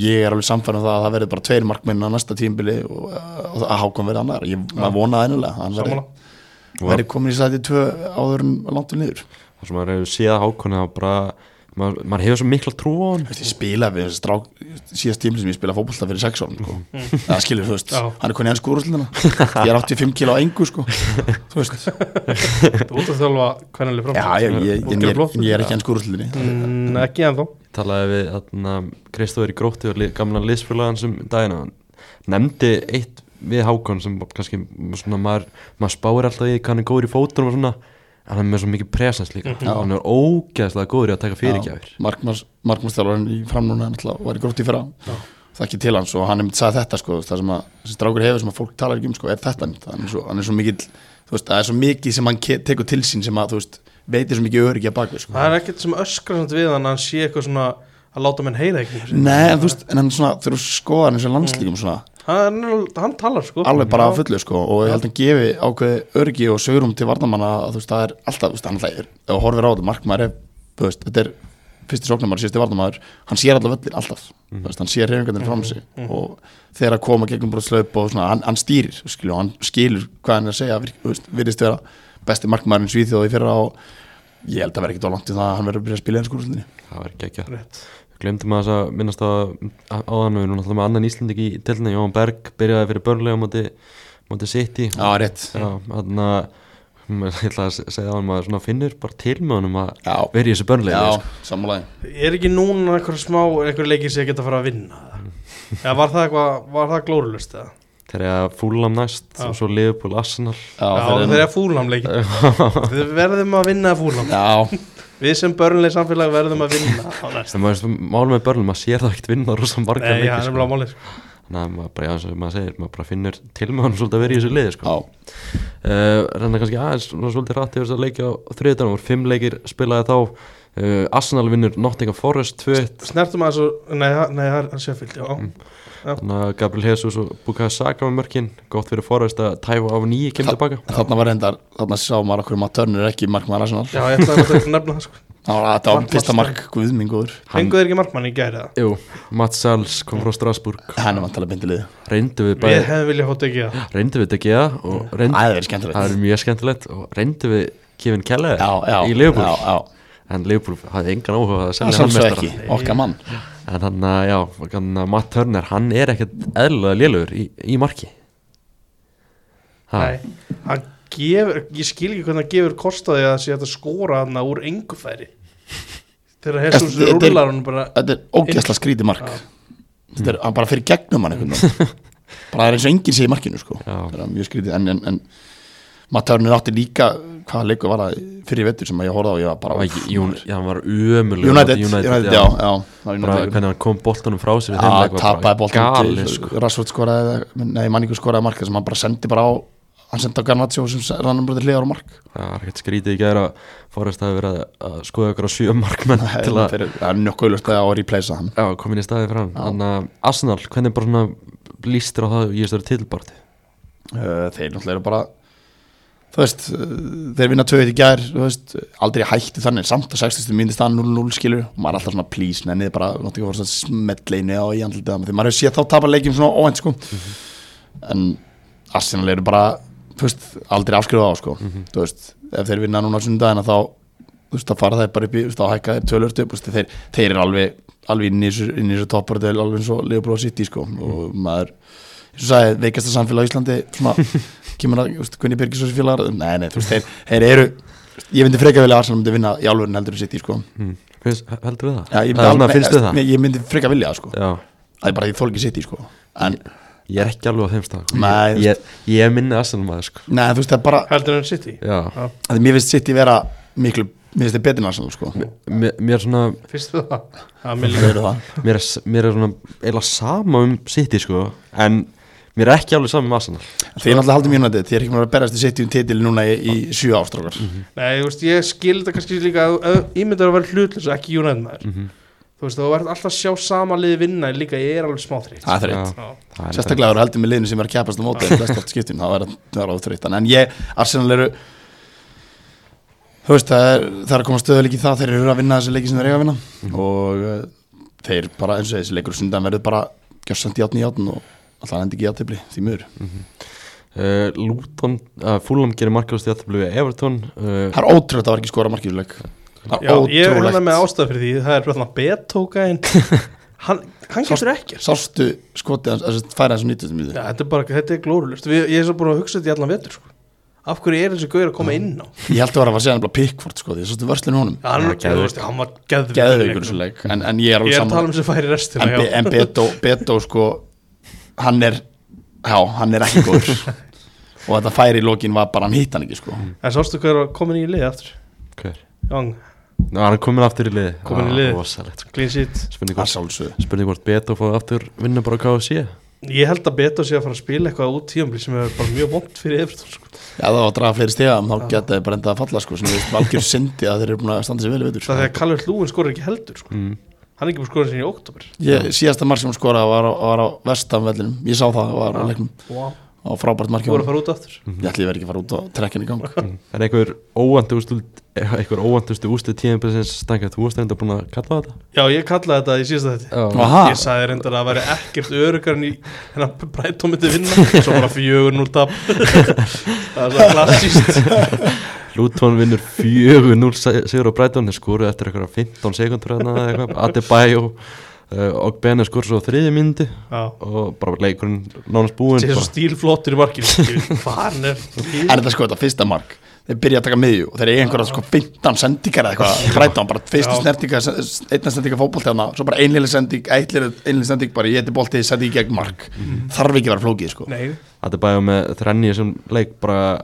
Speaker 3: ég er alveg samfærum það að það verður bara tveir markminn á næsta tímbili og, og að hákom verði annar ég maður vonaði ennilega að hann verði-
Speaker 2: Sammála.
Speaker 3: verði komin í sæti tvö áður en langt um niður
Speaker 1: það sem maður hefur séð að Hákon þá bara, maður, maður hefur svo mikla trú á hann
Speaker 3: Þú veist, ég spila við þessi strák síðast tímli sem ég spila fótbolta fyrir sex árum sko. það skilur, þú veist,
Speaker 2: Mm. Já.
Speaker 3: hann er konið ennsku úrslunina ég er 85 kíl á engu sko. þú veist, já,
Speaker 2: þú út að þjálfa hvernig fram
Speaker 3: ég, ég, ég, ég,
Speaker 2: Flott.
Speaker 3: ég er ekki ennsku úrsluninni
Speaker 2: Mm, ekki ennþá
Speaker 1: talaði við þarna, Kristóður í gróttu og li- gamla liðsfélagan sem dagina hann nefndi eitt við Hákon sem kannski svona maður, maður spáir alltaf í hvað hann er góður í fótunum og svona en hann er með svo mikið presens líka hann er ógeðslega góður í að taka fyrirgjafir
Speaker 3: markmannstjálfarinn í framnúna hann alltaf var í grótt í fyrra það ekki til hans og hann einmitt sagði þetta sko, þú veist, það sem að þessi strákur hefur sem að fólk talar ekki um sko, er þetta einmitt. hann er svo, hann er svo mikill þú veist, það er svo mikið sem hann ke- tekur til sín sem að þú veist, veitir svo mikið öryggi að bakvið sko.
Speaker 2: það er ekkert sem öskar samt við hann að hann sé eitthvað svona að láta menn heyra ekki
Speaker 3: Nei, en þú veist, en hann svona, þegar þú skoðar hann eins
Speaker 2: Mm.
Speaker 3: og landslíkum svona,
Speaker 2: hann, er- hann talar sko
Speaker 3: alveg bara
Speaker 2: Já.
Speaker 3: að fullu sko og ég held að gefi ákveði örgi og sögurum til varnamanna að þú veist það er alltaf, þú veist, hann alltaf er ef þú horfir á þetta, markmaður er, þú veist, þetta er fyrsti sóknarmaður, síðasti varnamaður hann sér alltaf völlin alltaf,
Speaker 2: Mhm.
Speaker 3: þú veist, hann sér reyfingarnir fram sig og þegar að koma gegnum bara slöp og svona, hann, hann stýrir, skilju hann skilur hvað hann er að segja, virk- þú veist, virðist vera besti markmaðurinn Svíþjóð í fyrra og ég held að vera ekkit á langt í það að hann verður að byrja að spila enn skúrúslinni
Speaker 1: það var ekki ekki
Speaker 2: Rétt.
Speaker 1: glemdum að þess að minnast á áðan við erum náttúrulega með annan Íslanding í delna Jóhann Berg byrjaði fyrir börnlega á móti, móti City
Speaker 3: Já, rétt
Speaker 1: Já, þannig að ég ætla að segja á hann maður svona finnur bara til með honum að
Speaker 3: Já,
Speaker 1: vera í þessu börnlega
Speaker 3: já
Speaker 1: sko.
Speaker 3: sammálaði
Speaker 2: Er ekki núna einhver smá, einhver leikir sem ég geta að fara að vinna? eða? Eða var það eitthvað, var það glórulust eða?
Speaker 1: þegar ég að fúlam næst
Speaker 2: Já.
Speaker 1: og svo Liverpool Arsenal
Speaker 2: Já, þeir eru fúlam leik Við verðum að vinna fúlam
Speaker 3: Já,
Speaker 2: Við sem börnlega samfélag verðum að vinna á næst
Speaker 1: en maður málum með börnum, maður sér það ekkert vinna rosa marga
Speaker 2: Nei, já, það er
Speaker 1: sko.
Speaker 2: bara málið sko.
Speaker 1: þannig að maður bara, já, eins og maður segir, maður bara finnur tilmöðan svolítið að vera í þessu liði sko.
Speaker 3: já,
Speaker 1: uh, renna kannski aðeins svona svolítið rætt yfir þess að leikja á þriðdagen voru fimm leikir spilaði þá uh, Arsenal vinnur Nottingham Forest 2-1
Speaker 2: Snertum að þessu Nei, það- nei, það er hann Sheffield, já
Speaker 1: þannig að Gabriel Jesus og Bukayo Saka með mörkin gott fyrir Forest að tæfa á nýju kemur tilbaka
Speaker 3: en þarna var reyndar Þarna sá maður okkur maður törnur ekki markmaður Arsenal
Speaker 2: Já, ég ætlaði að nefna það sko
Speaker 3: Það var- Þetta var
Speaker 2: Markmaður-
Speaker 3: fyrsta mark Guðmingur
Speaker 1: Hann-
Speaker 2: Henguð er ekki markmann í gæri það
Speaker 1: Jú, Mats Sals kom frá Strasbourg
Speaker 3: Hann er vantalega bindilið
Speaker 1: reyndu við
Speaker 2: Við
Speaker 1: bæði,
Speaker 2: hefum viljað hótt ekki það
Speaker 1: reyndu við þetta ekki það og
Speaker 3: Mm. Það
Speaker 1: reyndu,
Speaker 3: er verið
Speaker 1: það
Speaker 3: skemmtilegt
Speaker 1: er mjög skemmtilegt og reyndu við Kevin Keller
Speaker 3: Já, já,
Speaker 1: í Liverpool
Speaker 3: já, já.
Speaker 1: en Liverpool hafði engan áhuga á að
Speaker 3: Það
Speaker 1: selja hann
Speaker 3: sjálfsög
Speaker 1: mestara
Speaker 3: ekki, okkar mann
Speaker 1: en hann að, já, hann að Matt Turner hann er ekkert eðlulega lélugur í, í marki ha,
Speaker 2: Nei, hann gefur Ég skil ekki hvernig hann gefur kostaði að sé hægt að skora hann úr engu færi Þegar Hessus
Speaker 3: Þetta- þetta er-
Speaker 2: rullar hann bara
Speaker 3: Þetta er ógæsla skríti mark
Speaker 2: Já.
Speaker 3: Þetta er hann bara fyrir gegnum hann einhvern veginn Bara það er eins og enginn sé í markinu sko
Speaker 1: Já.
Speaker 3: Það er mjög skrítið en, en, en Matárnur átti líka hvaða leikur var það fyrir vettur sem ég horfði á og ég var bara
Speaker 1: Var ekki- Jún- já, hann var umulugur
Speaker 3: United, United, já, já, já,
Speaker 1: Bara, hvernig hann kom boltanum frá sér í þeim leik
Speaker 3: já
Speaker 1: var Ah, bara
Speaker 3: tapaði boltan
Speaker 1: galið,
Speaker 3: til
Speaker 1: sko.
Speaker 3: Rassvort skoraði nei, manningur skoraði marka sem hann bara sendi bara á hann sendi á Garnaccio sem rannum bröður hliðar á mark
Speaker 1: það var ekkert skrítið í gæra Forrest hafi verið að- að skoða okkur á sjö markmenn til að
Speaker 3: Fyrir- það er nokkuð auðvitað að replacea hann
Speaker 1: já, komin í staðið frá hann þannig að Arsenal, hvernig bara svona lístur á það í þessari tilbart
Speaker 3: Uh, þeir náttúrulega eru bara þú veist, uh, þeir vinna 2-1 í gær þú veist, aldrei hættu þannig samt að 60. myndist það 0-0 skilur og maður er alltaf svona please, nennið bara náttúrulega voru svona smetleinu á í andlitið á þeim. þegar maður hefur séð þá tapa leikjum svona óhend sko. en Arsenal eru bara þú veist, aldrei afskrifa á sko. þú veist, ef þeir vinna núna sundagina þá þú veist, þá fara þeir bara upp í þú veist, þá hækka þeir tölvört upp, þú veist, þeir, þeir eru alveg alveg inn í þessu, inn í þessu toppar alveg eins og Leopold City sko. og maður eins og sagði, veikasta samfélag á Íslandi svona, kemur að, þú veist, Gunni Birgisósi félagar nei, nei, þú veist, þeir, þeir eru ég myndi frekar vilja að Arsenal myndi vinna í álverðin heldur en sitt í, sko
Speaker 1: mm. heldur það?
Speaker 3: Já, ég
Speaker 1: það er svona,
Speaker 3: alveg-
Speaker 1: finnst þið það?
Speaker 3: Nei, ég myndi frekar vilja, það, sko
Speaker 1: já,
Speaker 3: það er bara, að ég þól ekki sitt í, sko en,
Speaker 1: ég er ekki alveg á þeim stað sko.
Speaker 3: Nei,
Speaker 1: ég, ég, ég er minni Arsenal maður sko.
Speaker 3: nei, þú veist, það er bara
Speaker 2: Heldur hann City
Speaker 1: já,
Speaker 3: að mér finnst sitt í vera miklu mér finnst þið betur en Arsenal, sko
Speaker 1: mér, mér svona
Speaker 2: Fyrst við það Já, mér
Speaker 3: það
Speaker 2: líka
Speaker 3: eru það,
Speaker 1: mér er, s- mér er svona eila sama um City sko en mér er ekki alveg sama um Arsenal
Speaker 3: þeir náttúrulega haldum mjög nættið þeir er ekki mér að berast í sitt í um titil núna í, í sjö ástrókar
Speaker 2: Nei, þú veist, ég skil þetta kannski líka að- að ímyndar að vera hlutlösa, ekki United maður Þú veist, þú verður alltaf að sjá sama liði vinna líka, ég er alveg smá þreytt
Speaker 3: það er
Speaker 1: Já,
Speaker 3: þreitt
Speaker 2: Já,
Speaker 1: það er-
Speaker 3: Sérstaklega eru heldur með liðinu sem er að kjæpast á móti en flest oft skiptum, það verður það verður óþreytan en ég, Arsenal eru þú veist, það er, það er að koma stöðuleik í það þeir eru að vinna þessi leiki sem þeir eiga að vinna og uh, þeir bara, eins og þessi leikur sundan verður bara gjörsamt í átni í átn og alltaf endi ekki í aðtefli, því miður
Speaker 1: uh, Luton, uh, Fulham gerir markast í aðtöflu við Everton uh,
Speaker 3: Það er ótrúlegt að það var ekki skora markiðuleik Það
Speaker 2: já
Speaker 3: er
Speaker 2: ég er hérna með
Speaker 3: ótrúlegt
Speaker 2: ástæð fyrir því, það er bara þannig að betóka einn Hann, hann getur ekkert
Speaker 3: Sástu skotið, hans- þessi færa hans og nýttustu mjög
Speaker 2: Já, þetta er bara, þetta er glórulust Ég er svo búin að hugsa þetta í allan vetur, sko Af hverju er þessi gauður að koma inn á?
Speaker 3: Ég held að vera að segja hann bara pickford sko, því sástu vörslinu honum
Speaker 2: Já, hann,
Speaker 1: Já,
Speaker 2: var, þú veist, hann var geðveikur
Speaker 3: Geðveikur
Speaker 2: í
Speaker 3: þessu
Speaker 2: leiknum.
Speaker 3: leik, en, en ég er alveg
Speaker 2: Ég er að
Speaker 3: sammála.
Speaker 2: tala um sem færi restina
Speaker 3: en, Be-
Speaker 2: já.
Speaker 3: en Beto, Beto sko hann er já, hann er ekki góður og þetta færi í lokin var bara hann hitt hann ekki sko
Speaker 2: En sástu hver var komin í liði aftur?
Speaker 1: hver?
Speaker 2: Young,
Speaker 1: Ná, hann er komin aftur í liði
Speaker 2: Kominn í liðið.
Speaker 1: ah, rosalegt, sko.
Speaker 2: clean sheet
Speaker 1: spurning
Speaker 3: að
Speaker 1: hvort,
Speaker 3: sjálfsögðu
Speaker 1: spurning hvort Beto fóði aftur vinna bara á KFC
Speaker 2: Ég held að Beto sé að fara að spila eitthvað út tíumli sem er bara mjög vondt fyrir Everton sko.
Speaker 3: já það var að draga fleiri stega þá geta þið bara endað að falla sko sem við valgjur syndi að þeir eru búin að standa sér vel við
Speaker 2: Það er
Speaker 3: sko.
Speaker 2: þegar Kallur Lúin skorur ekki heldur sko.
Speaker 1: mm.
Speaker 2: Hann er ekki búin skorur sinni í oktober
Speaker 3: ég, síðasta mark sem hún skoraði var, á- var á vestanvellinum ég sá það, var á leiknum
Speaker 2: wow.
Speaker 3: á frábært marki
Speaker 2: Þú voru að
Speaker 3: ég
Speaker 2: fara út aftur
Speaker 3: ætli ég verið ekki að fara út og trekkin í gang
Speaker 1: er einhver óvandi úrslit eh, einhver óvandustu úrslit tíðanbilsins stangað, þú varst reynda búin að kalla
Speaker 2: Já, ég kallaði þetta í síðasta þetta
Speaker 1: þetta
Speaker 3: Aha,
Speaker 2: Ég sagði reyndar að það væri ekkert örugar en í hennar breytum myndi vinna Svo bara fjögur núl tap Það er svo klassíst
Speaker 1: Luton vinnur 4-0 se- sigur á Brighton þeir skoru eftir eitthvað 15 sekundur Adebayo uh, og Bene skoru svo á þriði myndi
Speaker 2: Já.
Speaker 1: og bara leikurinn nánast búinn
Speaker 2: Sé svo
Speaker 1: bara.
Speaker 2: stílflottur í markinu Hvað hann er
Speaker 3: en þetta sko þetta fyrsta mark þeir byrja að taka miðju og þeir eiga einhverja sko 15 sendingar eða eitthvað ræta hann bara fyrstu
Speaker 2: Já.
Speaker 3: snertinga einna sendinga fótbolti hann svo bara einlega sending einlega sending bara ég eti bolti sendi í gegn mark þarf ekki að vera flókið sko
Speaker 2: Nei,
Speaker 1: Þetta er bæðið með þrenni sem leik bara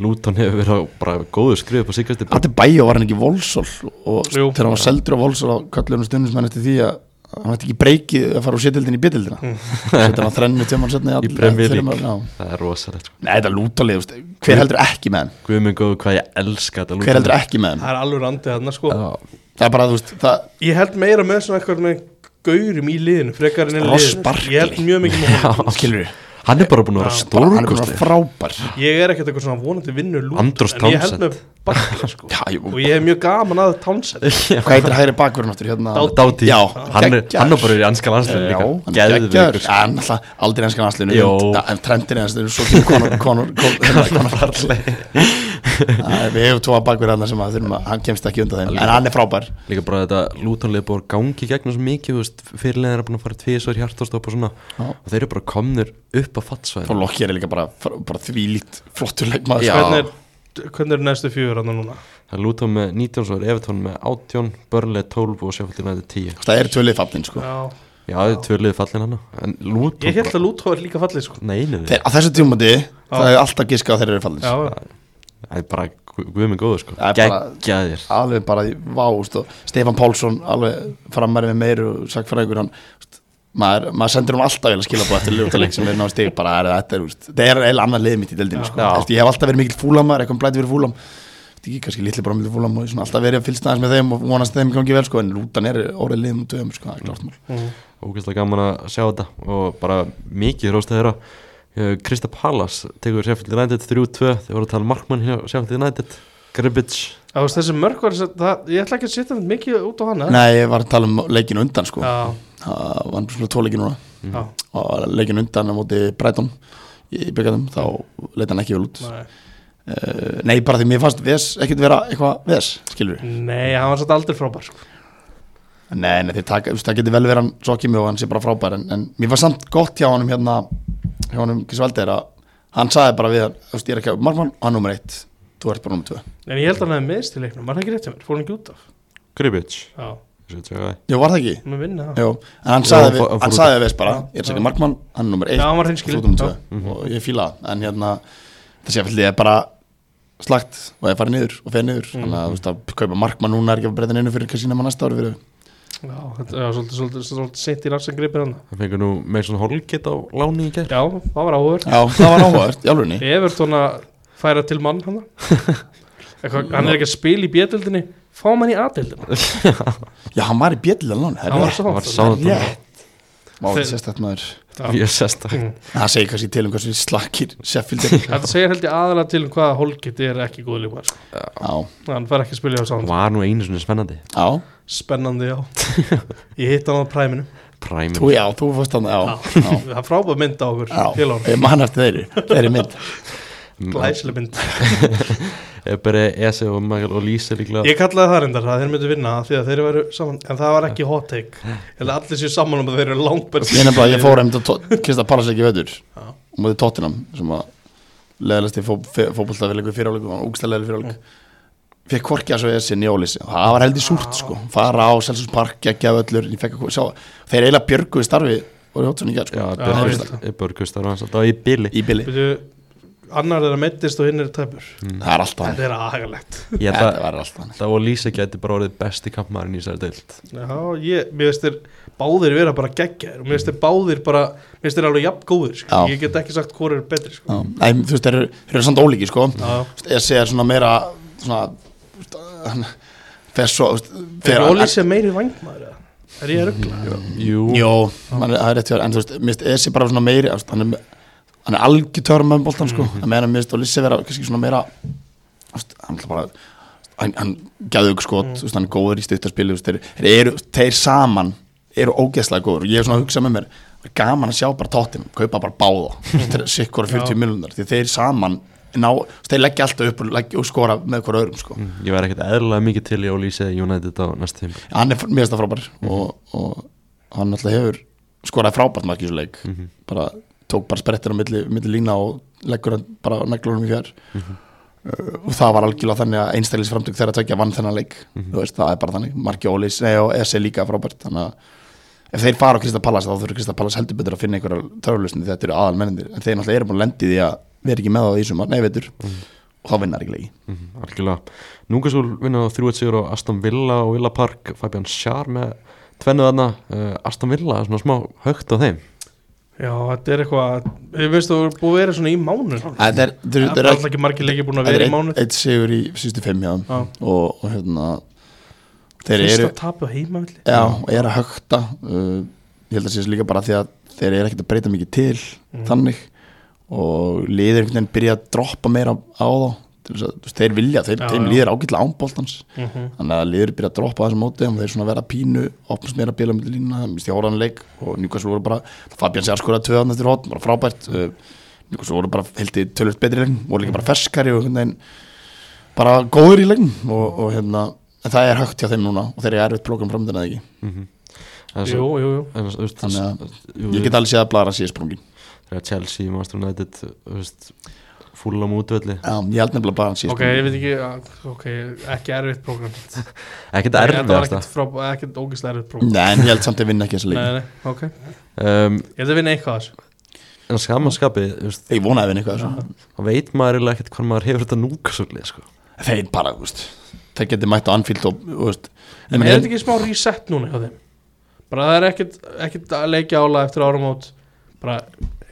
Speaker 1: Luton hefur verið á bara góðu skrif upp á síkast
Speaker 3: Ati Bæjó var hann ekki í Volsól og
Speaker 2: Jú.
Speaker 3: þegar hann var seldur á Volsól og kallir hann stundum eftir því að hann ætti ekki breykið að fara úr sétildin í bitildina þetta var þrennu tjóman setna
Speaker 1: Í Premier League. Það er rosalegt sko.
Speaker 3: Nei, þetta er lútalið, þú veist, hver heldur ekki með hann
Speaker 1: Guðmund góðu hvað ég elska þetta
Speaker 3: hver heldur ekki með hann
Speaker 2: það er alveg randið þarna sko
Speaker 1: ekki
Speaker 3: það er bara, þú veist, það
Speaker 2: Ég held meira með svona eitthvað með gaurum í liðinu Frekar en í
Speaker 3: Ross
Speaker 2: liðinu
Speaker 3: Barkley.
Speaker 2: Ég held mjög mikið með honum.
Speaker 3: skilur
Speaker 1: Hann er bara búin að vera
Speaker 2: Já,
Speaker 3: bara, hann er bara
Speaker 1: stórkostið
Speaker 3: frábær
Speaker 2: Ég er ekkert eitthvað svona vonandi vinnur lút
Speaker 1: Andros
Speaker 2: En ég held
Speaker 1: Townsend.
Speaker 2: með Barkley sko
Speaker 3: Já, jú,
Speaker 2: Og ég hef mjög gaman að Townsend
Speaker 3: hvað heitir hægri bakverðin áttur hérna
Speaker 1: Dáti,
Speaker 3: Já,
Speaker 1: hann er, hann er bara í anska landslega
Speaker 3: Já,
Speaker 1: líka
Speaker 3: hann er
Speaker 1: Geðvigur
Speaker 3: geggjaður Já, hann er alltaf aldrei ennskan aðslinu
Speaker 1: Jó.
Speaker 3: En trendin er aðslinu Svo kemur konur Konur Konur
Speaker 1: Farley.
Speaker 3: Við hefum tvo að bakverð hann sem að þurfum að Hann kemst ekki undan þeim En hann er frábær
Speaker 1: Líka bara þetta Lutonlið búið að gangi í gegnum svo mikið þú veist, Fyrirlega er búin að fara tvisvar hjartastopp og svona
Speaker 3: Já.
Speaker 1: Og þeir eru bara komnir upp á
Speaker 3: Og
Speaker 1: fattsvæðin
Speaker 3: Lokki er líka bara Bara þvílíkt flottur leikmaður
Speaker 1: Já.
Speaker 3: sko.
Speaker 2: Hvernig er, hvernig er næstu fjögur hann núna?
Speaker 1: Það er Luton með 19, svo er Everton með 18 Burnley 12 og Sheffield United 10
Speaker 3: Það er tölvið fallin sko
Speaker 2: Já
Speaker 1: Já, það er tvölið fallin hann En Luton
Speaker 2: Ég held að Lúthó er líka fallið sko
Speaker 1: Nei, nei, nei
Speaker 3: Þeir, á þessu tímandi Það er alltaf giska að þeir eru fallin
Speaker 2: Já,
Speaker 1: Það er bara guðminn góður sko
Speaker 3: Það er bara-
Speaker 1: Geggjaðir
Speaker 3: alveg bara vást og Stefan Pálsson alveg framæri með meiru og sagfræðingur hann veist, maður, maður sendir hún alltaf vel að skila eftir ljótaleik sem er náðu stig bara er, þetta er, veist, það er eða annað lið mitt í deildinu sko.
Speaker 1: Já.
Speaker 3: Veist, ég hef alltaf verið mikil fúlamar, eitthvað blæti fyrir fúlam Veist, ekki kannski litli bara mikil fúlam og svona, alltaf verið að fylgst aðeins með þeim og vonast að þeim gangi vel sko, en lútan er orðið liðum og döðum sko, það er klart mál
Speaker 1: Ógæslega gaman að sjá þetta og bara mikið hróst að þeirra Eh, Krista Pallas tekur Sheffield United 3-2 þeir voru að tala um markmann hjá Sheffield United Gribbits
Speaker 2: Það var þessi mörg var þess að það- Ég ætla ekki að setja þetta mikið út á hana
Speaker 3: Nei, ég var að tala um leikin undan sko.
Speaker 2: Já,
Speaker 3: það var svona tóleikin núna
Speaker 2: já,
Speaker 3: og leikin undan á móti Breiton í byggandum, þá leita hann ekki vel út
Speaker 2: nei
Speaker 3: Uh, nei, bara því mér fannst VES ekkert vera eitthvað VES, skilur við.
Speaker 2: Nei, hann var satt aldrei frábær sko.
Speaker 3: Nei, nei, þeir taka, þú veist, það getur vel verið hann svo ekki mjög og hann sé bara frábær en, en mér var samt gott hjá honum hérna, hjá honum Kisveldeir að hann sagði bara við hann, þú veist, ég er ekki að margmann, hann nummer eitt, þú ert bara nummer tvö.
Speaker 2: En ég held að hann hefði meðst í leiknum, var það ekki rétt hjá mér, fór hann ekki út af
Speaker 1: Gribbits
Speaker 2: Já,
Speaker 1: Hann
Speaker 3: Jú, var það ekki?
Speaker 2: hann er vinna það
Speaker 3: Jú, en hann
Speaker 1: Jú,
Speaker 3: sagði
Speaker 1: hann
Speaker 3: við,
Speaker 1: fór- hann fór
Speaker 3: hann
Speaker 1: út.
Speaker 3: sagði við VES bara, ég er ekki að margmann, hann nummer
Speaker 2: Já,
Speaker 3: eitt,
Speaker 2: hann var
Speaker 3: þú
Speaker 2: hreinskilin
Speaker 3: ert nummer
Speaker 2: já.
Speaker 3: tvö og ég fíla það, en hérna, það sé fyrir því að bara slagt og það er farið niður og fer niður, þannig að, þú veist, að kaupa markmann núna er ekki að breyta neinu fyrir kannski nema næsta ári fyrir
Speaker 2: Já, þetta var svolítið, svolítið, svolítið sent í rafsangripir hann
Speaker 1: fengur nú Mason Holgate á láni í gær
Speaker 2: Já, það var áhver
Speaker 3: Já, það var áhugavert, í alvörunni
Speaker 2: Evertón að færa til mann hann Eitthvað, Hann er ekki að spila í bjöldinni Fá mann í aðildina
Speaker 3: Já, hann var í bjöllilega lán
Speaker 2: Hann var
Speaker 1: Það var
Speaker 2: svo
Speaker 1: sáðan
Speaker 3: Rétt. Má
Speaker 2: Þeir-
Speaker 3: þetta sérstætt maður
Speaker 2: Já.
Speaker 1: Mjög sérstak
Speaker 2: Mm.
Speaker 3: En Það segir kannski til um hversu slakir Sheffield er Já,
Speaker 2: Þetta segir held ég aðalega til um hvaða holgeti er ekki góð líka sko.
Speaker 3: já,
Speaker 2: Hann fær ekki að spila í rafsangripir
Speaker 1: Var nú einu svona spennandi
Speaker 2: Spennandi, já Ég hitt hann á præminu
Speaker 1: Prime
Speaker 3: þú já, þú fost hann Já, já,
Speaker 2: Það er frábæð mynd á okkur
Speaker 3: já Mm.
Speaker 2: Félagunum,
Speaker 3: Ég man eftir þeirri, þeirri mynd
Speaker 1: Mm,
Speaker 2: glæsileg mynd
Speaker 1: Eberi, Ese eh, og Michael og Lise líklega
Speaker 2: Ég kallaði það reyndar að þeir myndu vinna því að þeir væru saman, en það var ekki hot take eða allir séu saman um að þeir eru langbært
Speaker 3: Ég nefnilega, ég fór einmitt að Krista Pallas ekki veitur
Speaker 2: Já.
Speaker 3: Og mútið Tottenham Sem að leðalast í fótbollstafélegu fyriráleiku Og úkstæðlega fyriráleiku Fekk korki að svo ég sinni ólýsi Það var heldur súrt sko Fara á Selsus Park, ekki að öllur Ég fekk að sjá Þeir eiginlega björguðu starfi Og Jótsson í gær
Speaker 1: Já,
Speaker 3: sko
Speaker 1: Börgustar var alltaf í bili
Speaker 3: Í bili
Speaker 2: Byrju, annar er að meittist og hinn er tæpur
Speaker 3: Það er alltaf hann
Speaker 2: þetta er agalegt
Speaker 1: Ég held
Speaker 3: Þetta
Speaker 1: að
Speaker 3: var alltaf hann
Speaker 1: Það og Lise gæti bara orðið besti kampmaðurinn í þessari deild
Speaker 2: Já, ég, mér veist þeir báðir vera bara geggjaðir og mér veist þeir báðir bara mér veist þeir alveg jafn góðir, sko.
Speaker 3: Já.
Speaker 2: ég get ekki sagt hvort er betri sko.
Speaker 3: Já, nei, þú veist, þeir eru, þeir eru samt ólíki, sko
Speaker 2: Já,
Speaker 3: Esi er svona meira svona, þú veist, hann fer svo, þú veist,
Speaker 2: þeir
Speaker 3: fer
Speaker 2: eru ólýsið meiri vangmaður eða? er ég að ruggla?
Speaker 1: Jú,
Speaker 3: Jó, hann er, það er rétt hjá þér, en þú veist, mér finnst Esi bara svona meiri, þú veist, hann er me- hann er algjör með boltan, sko, mm. meðan mér finnst Ólísi vera kannski svona meira þú veist, hann er bara hann, hann gæðu ykkur skot, þú veist, hann er góður í stuttarspili, þú veist, þeir, þeir eru, þeir saman eru ógeðslega góður og ég er svona að hugsa með mér það er gaman að sjá bara tóttin, kaupa bara báða sikkur 40 miljonar, því þeir saman ná, þú veist, þeir leggja alltaf upp og, leggja, og skora með hver öðrum, sko
Speaker 1: Mhm. ég væri ekkert eðlulega mikið til í Ólíse United á næstu tímpil
Speaker 3: hann er mér finnst það frábær og, og hann alltaf hefur skoraði frábært mark í þessu leik bara tók bara sprettir á milli, milli lína og leggur hann bara neglunum í fjær Uh, og það var algjörlega þannig að einstælisframtök þeirra tökja vann þennan leik þú veist, það er bara þannig, Marki Ólís nei, og Ese líka frábært þannig að ef þeir fara á Krista Pallas þá þurfur Krista Pallas heldur betur að finna einhverja törflusni þetta eru aðal mennendir en þeir náttúrulega eru búin að lendi því að vera ekki með á því sumar, nei veitur og þá vinnar ekki leiki
Speaker 1: Mhm, Algjörlega. Núngasúl vinnaði þrjúet sigur á Aston Villa og Villa Park Fabian Schär með tvennuð þarna uh, Aston Villa, svona smá högt á þeim
Speaker 2: Já, þetta er eitthvað, ég veist þú er búið að vera svona í mánu
Speaker 3: þetta er, þetta
Speaker 2: Það er alltaf ekki margir leikir búin að vera í mánu
Speaker 3: eitt sigur í sístu fimm hjá
Speaker 2: Já.
Speaker 3: þeim og, og hérna þeir
Speaker 2: Fyrsta
Speaker 3: eru
Speaker 2: eru... tapu heimavilli
Speaker 3: Já, og er að högta uh, ég held að sé þessu líka bara því að þeir eru ekkert að breyta mikið til þannig og liðir einhvern veginn byrja að droppa meira á þá til þess að, þú veist, þeir vilja, þeir,
Speaker 2: Já,
Speaker 3: þeim
Speaker 2: já.
Speaker 3: líður ágætlega ánbóltans
Speaker 2: mm -hmm.
Speaker 3: þannig að liður byrja að droppa á þessum móti þannig að þeir svona verða pínu, opnast meira bíla með línuna, misti hóraðan leik og Newcastle voru bara, Fabian sér skoraði tvöðan eftir hótt, bara frábært uh, Newcastle voru bara, held ég, tölvöld betri í leikn voru líka bara ferskari og einhvern veginn bara góður í leikn og, og hérna, en það er högt hjá þeim núna og þeir eru erfitt prógram framöndin eða ekki
Speaker 1: Mhm. En
Speaker 2: Jú,
Speaker 1: svo-
Speaker 2: jú, jú
Speaker 1: en þú veist,
Speaker 3: Þannig að
Speaker 1: jú,
Speaker 3: Ég get alveg séð að Blara sé sprungin
Speaker 1: þegar Chelsea, Master United þú veist, fúl á mútvelli
Speaker 3: Já, ég held nefnilega Blara sé
Speaker 2: Ok,
Speaker 3: sprungin
Speaker 2: ég veit ekki, að- ok, ekki erfitt prógram
Speaker 1: ekkert
Speaker 2: Þetta var
Speaker 1: erfiðast
Speaker 2: ekkert, frá, ekkert ógislega erfitt prógram
Speaker 3: Nei, en ég held samt að vinna ekki þessa leik
Speaker 2: Nei, nei, ok
Speaker 1: um,
Speaker 2: Ég held að vinna eitthvað af þessu
Speaker 1: en skamanskapi, þú veist
Speaker 3: Ég vonaði að vinna eitthvað þessu
Speaker 1: þá veit maður eiginlega ekkert hvað maður hefur þetta núgasúli sko.
Speaker 3: Þeir bara, þú veist Þeir geti mætt á Anfield og, þú veist
Speaker 2: En er þetta ekki smá reset núna hjá þeim? Bara það er ekkert, ekkert að leikja ála eftir áramót Bara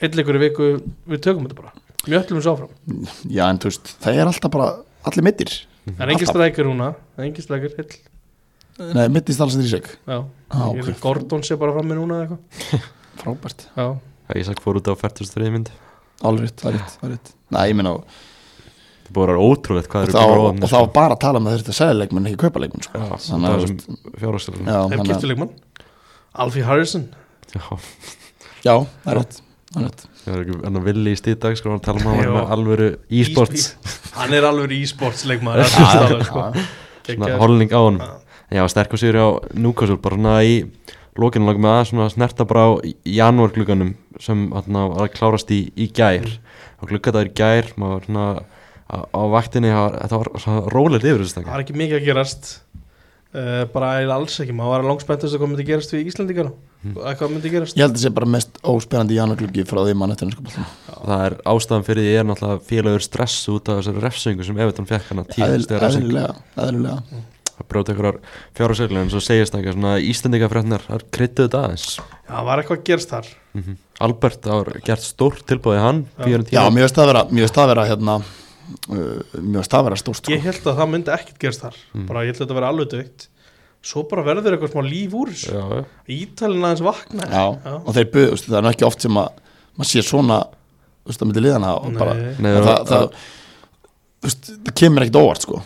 Speaker 2: einn leikur í viku, við tökum þetta bara Við öllum þessu áfram
Speaker 3: Já, en þú veist, það er alltaf bara Allir mittir
Speaker 2: Það er engin
Speaker 3: Alltaf.
Speaker 2: strækir núna, það er engin strækir, hill
Speaker 3: Nei, mittist alls þér í seg
Speaker 2: Já,
Speaker 3: Á,
Speaker 2: ég held
Speaker 3: ok,
Speaker 2: að Gordon sé bara frammi núna eða eitthvað
Speaker 3: frábært
Speaker 2: Já,
Speaker 1: það ég sagði fór út á 43 mynd
Speaker 3: Alveg, rétt, það er rétt, það er rétt Nei, ég meina, og,
Speaker 1: það búið að vera ótrúlegt hvað
Speaker 3: og,
Speaker 1: eru
Speaker 3: þá,
Speaker 1: búin
Speaker 3: og þá var bara að tala um að þeir þetta að selja leikmenn Ekki kaupa leikmenn, sko
Speaker 1: Já, um
Speaker 3: Þannig að, þú veist,
Speaker 1: fjárhástalinn
Speaker 3: já,
Speaker 2: þeir
Speaker 3: þannig
Speaker 2: kiptu
Speaker 3: að
Speaker 2: leikmann Alfie Harrison
Speaker 3: Já, það er rétt, það er rétt
Speaker 1: það er ekki annar villi í stíðdag sko, hann tala um að hann var
Speaker 2: Já.
Speaker 1: með alvöru e-sports
Speaker 2: Hann er alveg e-sports leikmann
Speaker 3: Já, já,
Speaker 2: Það
Speaker 3: já.
Speaker 1: svona holning á hann Já, sterkur sigur á Newcastle bara svona í lokinu langum með að svona snerta bara á janúar glugganum sem þarna var að klárast í, í gær og gluggaðar í gær maður var svona á, á vaktinni það var- þetta var svona rólegt yfir þessu
Speaker 2: Það
Speaker 1: stengar
Speaker 2: var ekki mikið að gerast uh, bara eiginlega alls ekki, maður var langspenntast að hvað myndi gerast við Íslandingar
Speaker 3: Hmm.
Speaker 2: að hvað myndi gerast
Speaker 3: Ég held að sé bara mest óspennandi janúargluggi frá því mann eftir ennskapallum
Speaker 1: það er ástæðan fyrir því er náttúrulega félagur stress út af þessari refsöngu sem Everton fekk hann að tíðast þegar refsöngu
Speaker 3: Æðlilega, æðlilega
Speaker 1: að brjóta einhverjar fjárháseglega en svo segist það ekki svona Íslandingafrætnar það kryttuðu þetta aðeins
Speaker 2: Já, það var eitthvað að gerast þar
Speaker 1: Albert, það var gert stórt tilbúið hann
Speaker 2: Já.
Speaker 3: Já,
Speaker 1: 410.
Speaker 3: mér veist það vera, mér veist það vera hérna uh, Mér veist það vera stórt sko.
Speaker 2: Ég held að það myndi ekkert gerast þar
Speaker 3: Hmm.
Speaker 2: bara ég held að þetta vera alveg dögt svo bara verður eitthvað smá líf úr þessu
Speaker 1: Já, já.
Speaker 2: Ítalinn aðeins vakna
Speaker 3: Já, og þeir buðu, veist, það er nú ekki oft sem að maður sé svona, þú veist, að myndi liðana og bara,
Speaker 2: Nei,
Speaker 1: Nei,
Speaker 3: en það,
Speaker 1: það-
Speaker 3: það, þú veist, það kemur ekkert óvart sko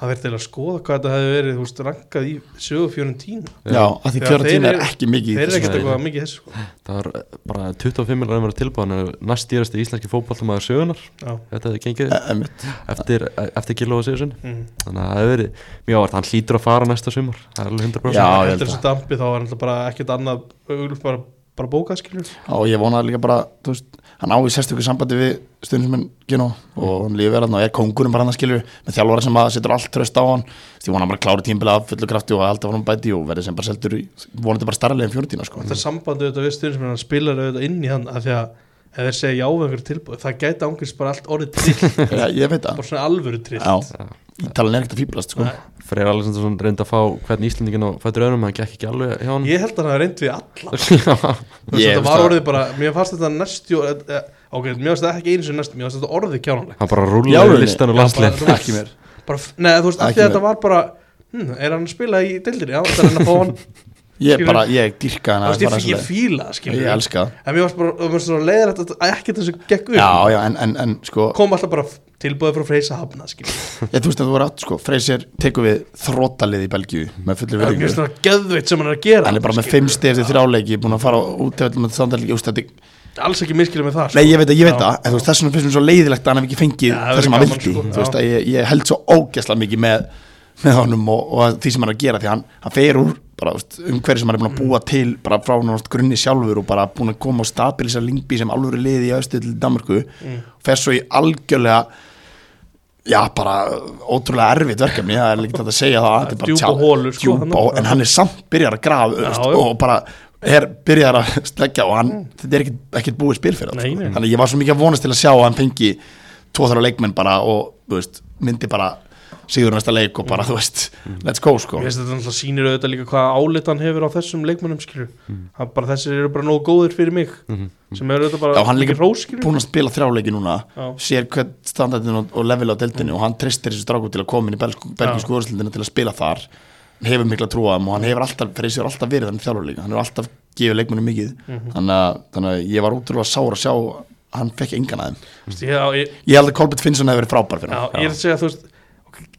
Speaker 2: það verður til að skoða hvað þetta hefði verið þú veist, rankað í sögu fjörun tín
Speaker 1: Já.
Speaker 3: Já, af því
Speaker 2: Já,
Speaker 3: Fiorentina
Speaker 2: þeir
Speaker 3: er
Speaker 2: eru-
Speaker 3: ekki mikið
Speaker 2: þeir
Speaker 3: í
Speaker 2: eru
Speaker 3: þessu
Speaker 2: ekkert
Speaker 1: Nei.
Speaker 2: eitthvað mikið í þessu sko.
Speaker 1: Það var bara 25 miljonar að vera tilbúin en næst dýrasti íslenski fótballtamaður sögunar
Speaker 2: Já,
Speaker 1: þetta hefði gengið
Speaker 3: Eh, einmitt.
Speaker 1: eftir, e, eftir Gilóa Sigurðsson
Speaker 2: mm.
Speaker 1: þannig að það hefði verið mjög ávart, hann hlýtur að fara næsta sumar það er alveg 100%
Speaker 3: Já, ég held
Speaker 2: Eftir þessu dampi þá var náttúrulega bara ekkert annað augljóst bara, bara bókað skilur
Speaker 3: og ég vonaði líka bara, þú veist hann á í sérstöku sambandi við stundismenn Gino og hann lífið verðan og er kóngurinn bara hann að skilur með þjálfara sem að setur allt tröst á hann Þú veist, ég vona hann bara klári tímbilið af fullu krafti og alltaf var hann bæti og verði sem bara seldur í vonandi bara starralið en fjórutína sko
Speaker 2: þetta sambandi auðvitað við stundum sem hann spilar auðvitað inn í hann af því að ef þeir segja já við einhverju tilbúið það gæti ángurst bara allt orðið trill
Speaker 3: Já, ég veit það
Speaker 2: bara svona alvöru trill
Speaker 3: Já, Ítalan er ekkert að fýblast sko
Speaker 2: Nei.
Speaker 1: Freyr Alessandarsson reyndi að fá hvern íslendingin á fættur öðrum, hann gekk ekki alveg hjá hann
Speaker 2: ég held að hann hafi reynd við alla
Speaker 1: Já,
Speaker 2: Þú veist,
Speaker 3: Ég
Speaker 2: þetta
Speaker 3: veist
Speaker 2: var
Speaker 3: það.
Speaker 2: orðið bara, mér fannst þetta næstjú eh, eh, ok, mér fannst þetta ekki eins og næstjú mér fannst þetta orðið kjánanlega
Speaker 1: hann bara
Speaker 3: Já,
Speaker 1: rúlaði
Speaker 3: rauninni.
Speaker 1: listan og
Speaker 2: Já,
Speaker 1: landslið
Speaker 2: bara- þú veist,
Speaker 3: Ekki mér
Speaker 2: bara, f- nei, þú veist, af
Speaker 3: Ekki
Speaker 2: því að
Speaker 3: meir.
Speaker 2: þetta var bara hm, er hann að spila í deildinni, já, þetta er hann að fá hann þú
Speaker 3: Ég
Speaker 2: Skilur.
Speaker 3: bara, ég dyrka hana
Speaker 2: veist, ég,
Speaker 3: bara
Speaker 2: ég, ég
Speaker 3: svoleið.
Speaker 2: fíla, það, skilur
Speaker 3: Ég
Speaker 2: við.
Speaker 3: elska það
Speaker 2: en mér fannst bara, mér fannst svona leiðrætt að ekki þessu gekk upp
Speaker 3: Já, já, en, en, en sko
Speaker 2: kom alltaf bara tilbúið frá Freysa hafna, skilur við.
Speaker 3: ég, Þú veist að þú voru átt, sko Freysir tekur við þrótalið í Belgíu með fullir
Speaker 2: mér
Speaker 3: verðingu
Speaker 2: finnst það geðveitt sem hann er að gera
Speaker 3: Hann er bara með fimm stegi eftir þrjáleiki Búin að fara út til öllum að standarleiki ústætti
Speaker 2: alls ekki miskilum með það sko.
Speaker 3: Nei, ég veit að, ég veit
Speaker 2: Já.
Speaker 3: að en, þú veist, Þess vegna finnst mér svo leiðilegt að hann hef ekki fengið
Speaker 2: Já, það
Speaker 3: Það
Speaker 2: væri
Speaker 3: sem hann
Speaker 2: gaman,
Speaker 3: vildi
Speaker 2: sko.
Speaker 3: Þú veist
Speaker 2: Já.
Speaker 3: að ég, ég held svo ógæslega mikið með með honum og, og því sem hann er að gera því hann, hann fer úr bara, þú veist, umhverju sem hann er búin að búa til bara frá nátt grunni sjálfur og bara búin að koma og stabilisa Lingby sem alveg liði í austu til Danmarku
Speaker 2: Mm.
Speaker 3: fer svo í algjörlega já, bara ótrúlega erfitt verkefni það er líka þetta að segja það þetta er bara
Speaker 2: Djúpa
Speaker 3: tjá-
Speaker 2: holur, sko,
Speaker 3: djúpa,
Speaker 2: þarna.
Speaker 3: hó- en hann er samt byrjar að grafa öst,
Speaker 2: já.
Speaker 3: og bara er byrjar að sleggja og hann, þetta er ekkert, ekkert búið spil fyrir hann sko.
Speaker 2: Nei, nei, nei.
Speaker 3: þannig að ég var svo mikið að vonast til að sjá að hann fengi tvo þar leikmenn bara og þú veist, myndi bara sigur næsta leik og
Speaker 2: Mm.
Speaker 3: bara, þú veist, let's go sko.
Speaker 2: Ég veist þetta náttúrulega sýnir auðvitað líka hvað álit hann hefur á þessum leikmönnum skilur
Speaker 3: Mm.
Speaker 2: hann bara þessir eru bara nógu góðir fyrir mig sem eru auðvitað bara
Speaker 3: Mhm. Já, hann líka
Speaker 2: róskilur
Speaker 3: búin að spila þrjáleiki núna
Speaker 2: Já. Mm.
Speaker 3: sér hvern standardin og, og level á deltinu og hann tristir þessu stráku til að koma inn í
Speaker 2: Já.
Speaker 3: belgísku úrslindina til að spila þar hann hefur mikla trúaðum og hann hefur alltaf fyrir sér alltaf verið þannig þjálfurleika, hann hefur alltaf gefið leikmennu mikið
Speaker 2: Mhm.
Speaker 3: þannig, að, þannig að ég var útrúlega sár að sjá hann fekk engan aðeim
Speaker 2: ég, á- ég,
Speaker 3: ég held að Kolbjörn Finnsson hefur verið frábær fyrir
Speaker 2: já,
Speaker 3: hann
Speaker 2: ég er að segja þú veist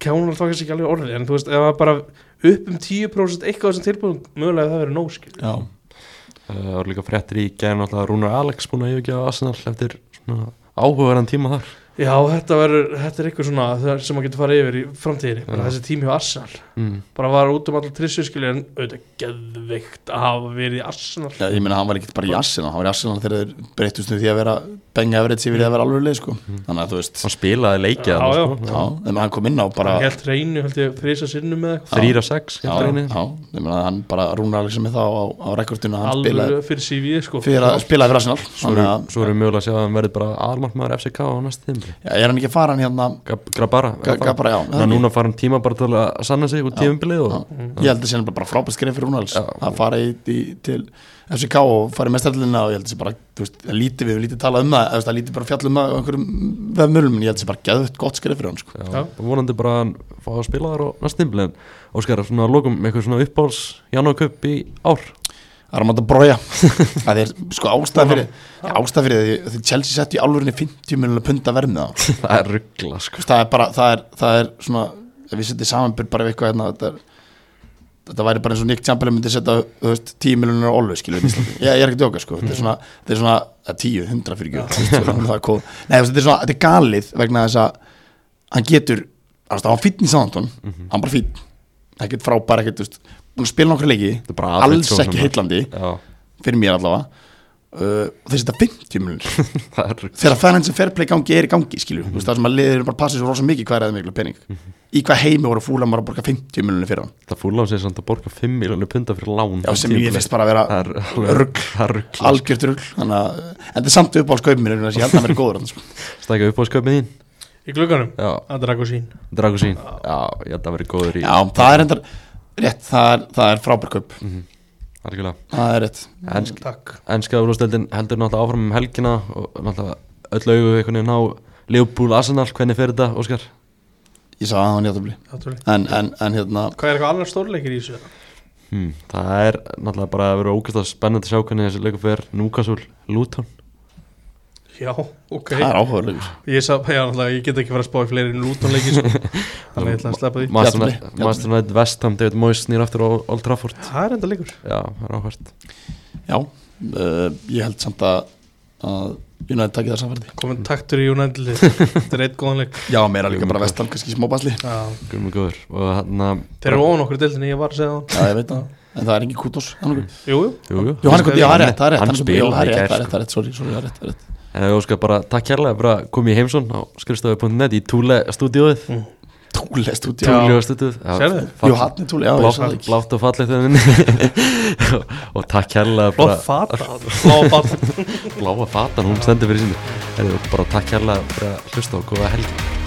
Speaker 2: kjánar þá kannski ekki alveg orðið en þú veist ef það bara upp um 10% eitthvað af þessum tilbúðum mögulega það verið nóg skilur
Speaker 3: Já.
Speaker 1: Eh, Það var líka fréttir í gæðin alltaf Rúnar Alex búin að yfirgefa Arsenal eftir svona áhugaverðan tíma þar
Speaker 2: já þetta, verður, þetta er eitthvað svona það sem maður getur farið yfir í framtíðinni bara
Speaker 1: Já.
Speaker 2: þessi tími hjá Arsenal
Speaker 1: mm.
Speaker 2: bara var út um allar trissu skilur en auðvitað geðveikt að hafa verið í Arsenal
Speaker 3: Já, ég meina hann var ekkert bara í Arsenal hann var í Arsenal þegar þeir breyttust niður því að vera Benga Everett sér verið að vera alveg leið sko. þannig að þú veist,
Speaker 1: Hann spilaði leikið
Speaker 2: Já,
Speaker 1: þarna,
Speaker 3: já,
Speaker 1: sko.
Speaker 3: en hann kom inn á bara
Speaker 2: bara helt reynu held ég þrísa sinnum með eitthvað
Speaker 1: Þrýr sko. af sex
Speaker 3: já, já, ég meina að hann bara rúnar Alexander með það á, á rekordinu að hann spilaði
Speaker 2: alveg fyrir CV sko
Speaker 3: fyrir að spilaði fyrir Arsenal
Speaker 1: Svo
Speaker 3: þannig að,
Speaker 1: eru mögulega að sjá að hann verði bara aðalmarkmaður FCK á næstu tíma
Speaker 3: já, er hann ekki að fara hann hérna
Speaker 1: Grabara
Speaker 3: Ga- Grabara, já, það
Speaker 1: Ná,
Speaker 3: er
Speaker 1: Núna fara hann tíma bara til að sanna sig og tímabilið og
Speaker 3: Já, ég held að það sé bara, bara frábært skrif fyrir Rúnals
Speaker 1: Já.
Speaker 3: að fara í, í, til FCK og fara í mestarlina og ég held að það sé bara þú veist, það lítið við, höfum lítið talað um það eða þú veist, það lítið bara fjallum það á einhverjum vefmölum en ég held að það sé bara geðvett gott skrif fyrir hann sko.
Speaker 1: Já,
Speaker 2: Já.
Speaker 1: og vonandi bara að hann fá að spila þar á næstu tíma en Óskar, svona að lokum eitthvað svona uppbáls Janókupp í ár
Speaker 3: það er að máta brója það er sko ástæð fyrir, já, ástæð fyrir því, því Chelsea sett í alvörinni 50 miljonar punta vermið á hann.
Speaker 1: Það er ruggla sko
Speaker 3: Þú veist, það er bara það er, það er svona, ef við setjum samanbyrð bara við eitthvað hérna, þetta, er, þetta væri bara eins og Nick Chamberlain myndi setja þú veist, 10 miljonar ollu, skilur við ég, ég er ekki að djóka, sko, þetta er svona, þetta er svona að 10, 100 fyrir gjöld það er kóð, nei, þú veist, þetta er svona, þetta er galið vegna þess að hann getur þú veist, hann var fýtn í Sándón,
Speaker 1: Mhm.
Speaker 3: hann bara fýtn ekkert frábær, ekkert, þú veist búin að spila nokkra leiki,
Speaker 1: Þetta er bara aðeins
Speaker 3: alls
Speaker 1: svo
Speaker 3: ekki
Speaker 1: sem-
Speaker 3: heitlandi
Speaker 1: Já,
Speaker 3: fyrir mér allavega uh, og þeir setja 50 miljonar
Speaker 1: það er ruggla
Speaker 3: þegar financial fair play gangi er í gangi skilju, mm -hmm. það sem að liðir bara passið svo rosa mikið hvað er það miklu pening í hvað heimi voru fúlamar að borga 50 miljonir fyrir hann
Speaker 1: Það fúla á sig samt að borga 5 miljónu punta fyrir lán
Speaker 3: já, sem ég finnst bara að vera
Speaker 1: Það er alveg-
Speaker 3: Rugl.
Speaker 1: Það er ruggla
Speaker 3: algjört rugl þannig að, en það er samt uppáhaldskaupin mér ég held að hann verið góður hann sko.
Speaker 1: Stækja uppbólsköpið þín
Speaker 2: í glugganum
Speaker 1: Já,
Speaker 2: að draga sín
Speaker 1: Dragosín Já, ég held að verið góður í
Speaker 3: já, það er endar rétt, það er, það er frábær kaup
Speaker 1: Algjörlega
Speaker 3: það er rétt
Speaker 1: Ensk,
Speaker 2: takk
Speaker 1: Enska úrlóðstöldin heldur náttúrulega áfram um helgina og náttúrulega öll augu einhvern veginn á Leopold Arsenal, hvernig fer þetta, Óskar?
Speaker 3: ég sagði að hann hjáttúrli
Speaker 2: Náttúrulega.
Speaker 3: en, en, en hérna,
Speaker 2: hvað er eitthvað annar stórleikir í þessu
Speaker 1: Hmm, það er náttúrulega bara að vera ógæst að spennandi að sjá hvernig þessi leikur fer Núkasúl, Luton
Speaker 2: já ok
Speaker 3: það er áhugaðurlegur
Speaker 2: ég, sá, já, náttúrulega, ég get ekki fara að spá í fleiri en lútonleiki sko. þannig að ég ætla að sleppa því
Speaker 1: Master
Speaker 3: Jafntefli,
Speaker 1: United-
Speaker 3: jafntefli.
Speaker 1: Master United West Ham, David Moyes snýr aftur á Old Trafford
Speaker 2: það er enda leikur
Speaker 1: Já, það er áhvert
Speaker 3: já, uh, ég held samt að, að United takið það samfærdi
Speaker 2: komin taktur í United þetta er eitt góðan leik
Speaker 3: já, meira líka bara vestan, kannski smá basli
Speaker 2: Já.
Speaker 1: Guðum og góður og hann að
Speaker 2: þeir eru ofan okkur í deildinni ég var að segja það
Speaker 3: já, ég veit það, Mm. en það er engin kútos annarkur
Speaker 2: jú, jú.
Speaker 1: Jú, jú
Speaker 3: Jú, hann er komið, já, það er rétt, það er rétt
Speaker 1: Hann
Speaker 3: er-
Speaker 1: spilaði
Speaker 3: jú, það er
Speaker 1: í
Speaker 3: rétt,
Speaker 1: gær,
Speaker 3: það
Speaker 1: sko.
Speaker 3: er rétt, það er rétt, sorry, sorry, það er rétt, það er rétt
Speaker 1: En ég Eh, óskar bara takk kærlega fyrir að koma í heimsón á skrifstofu.net í Túle stúdíóið
Speaker 3: Túle stúdíu
Speaker 1: Túle stúdíóið Já,
Speaker 2: Sérðu?
Speaker 1: fall-
Speaker 3: Jú, hann er Túle, já, ég
Speaker 1: blátt,
Speaker 3: sagði það ekki
Speaker 1: blátt og fallegt þennan og takk kærlega
Speaker 2: blá
Speaker 1: bara-
Speaker 2: fata blá fata
Speaker 1: bláa fatan, hún stendur fyrir sínu Heyrðu, bara takk kærlega fyrir að hlusta og góða helgi